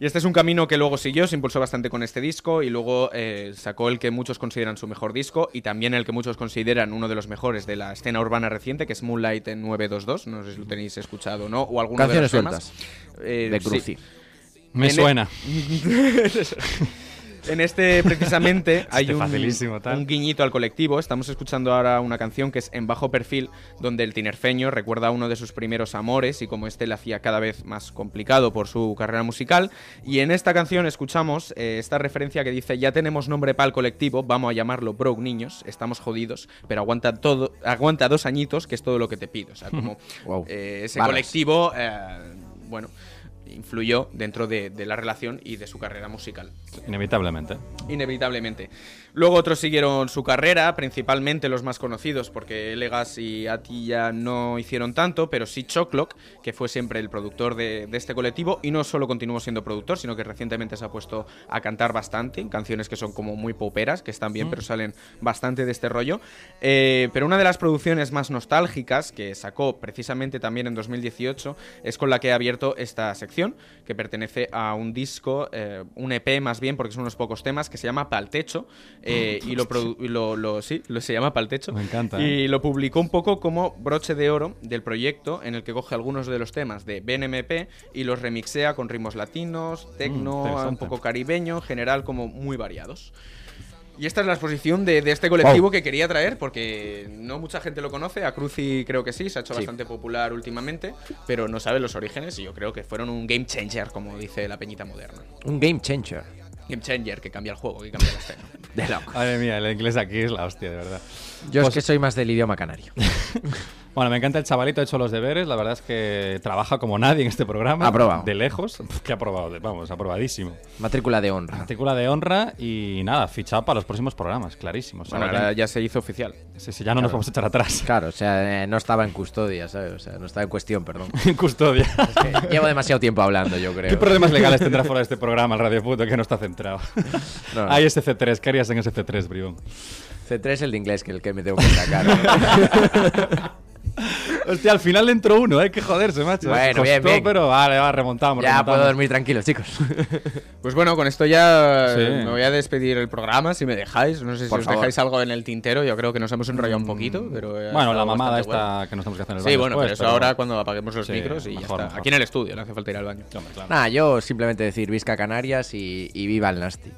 Speaker 3: Y este es un camino que luego siguió, se impulsó bastante con este disco y luego eh, sacó el que muchos consideran su mejor disco y también el que muchos consideran uno de los mejores de la escena urbana reciente, que es Moonlight en 922. No sé si lo tenéis escuchado o no, o alguno
Speaker 1: Canciones
Speaker 3: de los temas.
Speaker 1: sueltas.
Speaker 3: Eh,
Speaker 1: De
Speaker 3: sí.
Speaker 1: Cruci.
Speaker 4: Me
Speaker 1: e-
Speaker 3: en-
Speaker 4: suena.
Speaker 3: En este, precisamente, hay
Speaker 4: Este
Speaker 3: un,
Speaker 4: facilísimo, tal.
Speaker 3: un guiñito al colectivo. Estamos escuchando ahora una canción que es En Bajo Perfil, donde el tinerfeño recuerda a uno de sus primeros amores y como este le hacía cada vez más complicado por su carrera musical. Y en esta canción escuchamos eh, esta referencia que dice: Ya tenemos nombre para el colectivo, vamos a llamarlo Broke Niños, estamos jodidos, pero aguanta, todo, aguanta dos añitos, que es todo lo que te pido. O sea, como
Speaker 1: Wow.
Speaker 3: eh, ese
Speaker 1: Balas.
Speaker 3: colectivo, eh, bueno, influyó dentro de- de la relación y de su carrera musical.
Speaker 4: Inevitablemente.
Speaker 3: Inevitablemente. Luego otros siguieron su carrera, principalmente los más conocidos, porque Legas y Atilla no hicieron tanto, pero sí Choclock, que fue siempre el productor de, de este colectivo, y no solo continuó siendo productor, sino que recientemente se ha puesto a cantar bastante, en canciones que son como muy poperas, que están bien, pero salen bastante de este rollo. Eh, pero una de las producciones más nostálgicas que sacó precisamente también en 2018 es con la que he abierto esta sección, que pertenece a un disco, eh, un EP más bien, porque son unos pocos temas, que se llama Pal Techo. eh, y lo, produ- y lo, lo- sí, lo- se llama Pal Techo.
Speaker 4: Mm, Me encanta, eh.
Speaker 3: Y lo publicó un poco como broche de oro del proyecto, en el que coge algunos de los temas de BNMP y los remixea con ritmos latinos, tecno, un
Speaker 4: Mm, interesante.
Speaker 3: poco caribeño, en general, como muy variados. Y esta es la exposición de, de este colectivo
Speaker 1: Wow.
Speaker 3: que quería traer porque no mucha gente lo conoce. A Cruci creo que sí, se ha hecho bastante popular últimamente, pero no sabe los orígenes y yo creo que fueron un game changer, como dice la peñita moderna.
Speaker 1: Un game changer.
Speaker 3: Game changer, que cambia el juego, que cambia la escena.
Speaker 1: De loco.
Speaker 4: Madre mía, el inglés aquí es la hostia, de verdad.
Speaker 3: Pues
Speaker 1: Yo es que soy más del idioma
Speaker 3: (laughs)
Speaker 1: canario.
Speaker 4: Bueno, me encanta el chavalito, ha hecho los deberes. La verdad es que trabaja como nadie en este programa.
Speaker 1: Ha probado.
Speaker 4: De lejos. (laughs) Que ha probado, vamos, aprobadísimo.
Speaker 1: Matrícula de honra.
Speaker 4: Artícula de honra y nada, fichado para los próximos programas, clarísimo. O sea,
Speaker 3: Bueno,
Speaker 4: ya-
Speaker 3: ahora ya se hizo oficial.
Speaker 4: sí, sí, ya no nos vamos a echar atrás.
Speaker 1: Claro, o sea, eh, no estaba en custodia, ¿sabes? O sea, no estaba en cuestión, perdón.
Speaker 4: (laughs)
Speaker 1: (laughs)
Speaker 4: En custodia.
Speaker 1: Que llevo demasiado tiempo hablando, yo creo.
Speaker 4: ¿Qué
Speaker 1: (laughs)
Speaker 4: problemas legales tendrá fuera de este programa el Radio Puto que no está centrado?
Speaker 1: No, no.
Speaker 4: Hay ese C3, ¿qué harías en ese C3, Bribón?
Speaker 1: C3 el de inglés, que es el que me tengo que sacar.
Speaker 4: (laughs) Hostia, al final entró uno, ¿eh? Que joderse, macho.
Speaker 1: Bueno,
Speaker 4: Costó,
Speaker 1: bien, bien.
Speaker 4: pero vale, va, remontamos.
Speaker 1: ya
Speaker 4: remontamos.
Speaker 1: puedo dormir tranquilo, chicos. (laughs)
Speaker 3: Pues bueno, con esto ya
Speaker 4: Sí.
Speaker 3: me voy a despedir el programa, si me dejáis. No sé si
Speaker 1: Por
Speaker 3: os
Speaker 1: favor.
Speaker 3: dejáis algo en el tintero, yo creo que nos hemos enrollado un poquito, pero... eh, ha
Speaker 4: Bueno, la
Speaker 3: estado
Speaker 4: mamada
Speaker 3: bastante
Speaker 4: esta
Speaker 3: bueno.
Speaker 4: que nos tenemos que hacer en el
Speaker 3: Sí,
Speaker 4: baño
Speaker 3: bueno,
Speaker 4: después,
Speaker 3: pero eso ahora cuando apaguemos los
Speaker 4: Sí,
Speaker 3: micros y ya
Speaker 4: mejor,
Speaker 3: está.
Speaker 4: mejor.
Speaker 3: Aquí en el estudio, no hace falta ir al baño.
Speaker 1: Nada, yo simplemente decir Visca Canarias y, y viva el Nastic.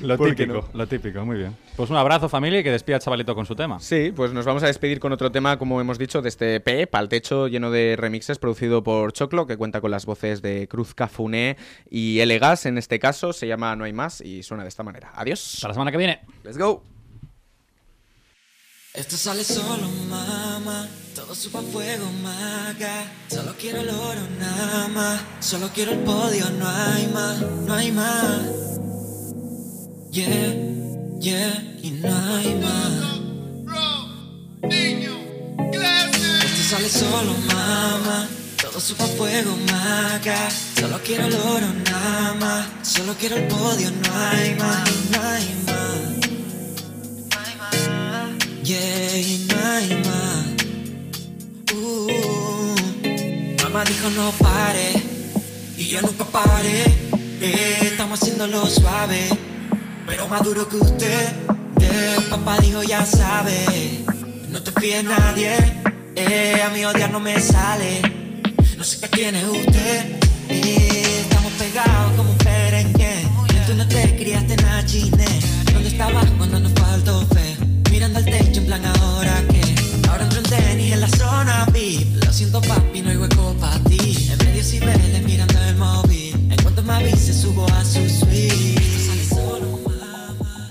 Speaker 4: Lo
Speaker 3: ¿Por qué
Speaker 4: típico, lo típico, muy bien. Pues un abrazo, familia, y que despida al chavalito con su tema.
Speaker 3: Sí, pues nos vamos a despedir con otro tema, como hemos dicho, de este P, Pal Techo, lleno de remixes, producido por Choclo, que cuenta con las voces de Cruz Cafuné y Elegas, en este caso, se llama No hay más y suena de esta manera. Adiós.
Speaker 4: Hasta la semana que viene.
Speaker 3: Let's go.
Speaker 7: Esto sale solo, mamá. Todo supa a fuego, maga. Solo quiero el oro, nada más. Solo quiero el podio, no hay más, no hay más. Yeah, yeah, y no hay más. Esto sale solo, mamá. Todo supa a fuego, maga. Solo quiero el oro, nada más. Solo quiero el podio, no hay más, no hay más. Yeah, y no hay más. Uh, mamá dijo no pare y yo nunca paré. Eh, estamos haciéndolo suave, pero más duro que usted. Eh, papá dijo ya sabe, no te fíes nadie. Eh, a mí odiar no me sale. No sé qué tiene usted. Eh, estamos pegados como un perenque. Tú no te criaste en la chine. E. ¿Dónde estabas cuando nos faltó fe? Mirando al techo en plan ahora que. Ahora entro en tenis en la zona VIP. Lo siento papi, no hay hueco para ti. En medio cibeles mirando el móvil. En cuanto me avise subo a su suite. Sale solo, mamá.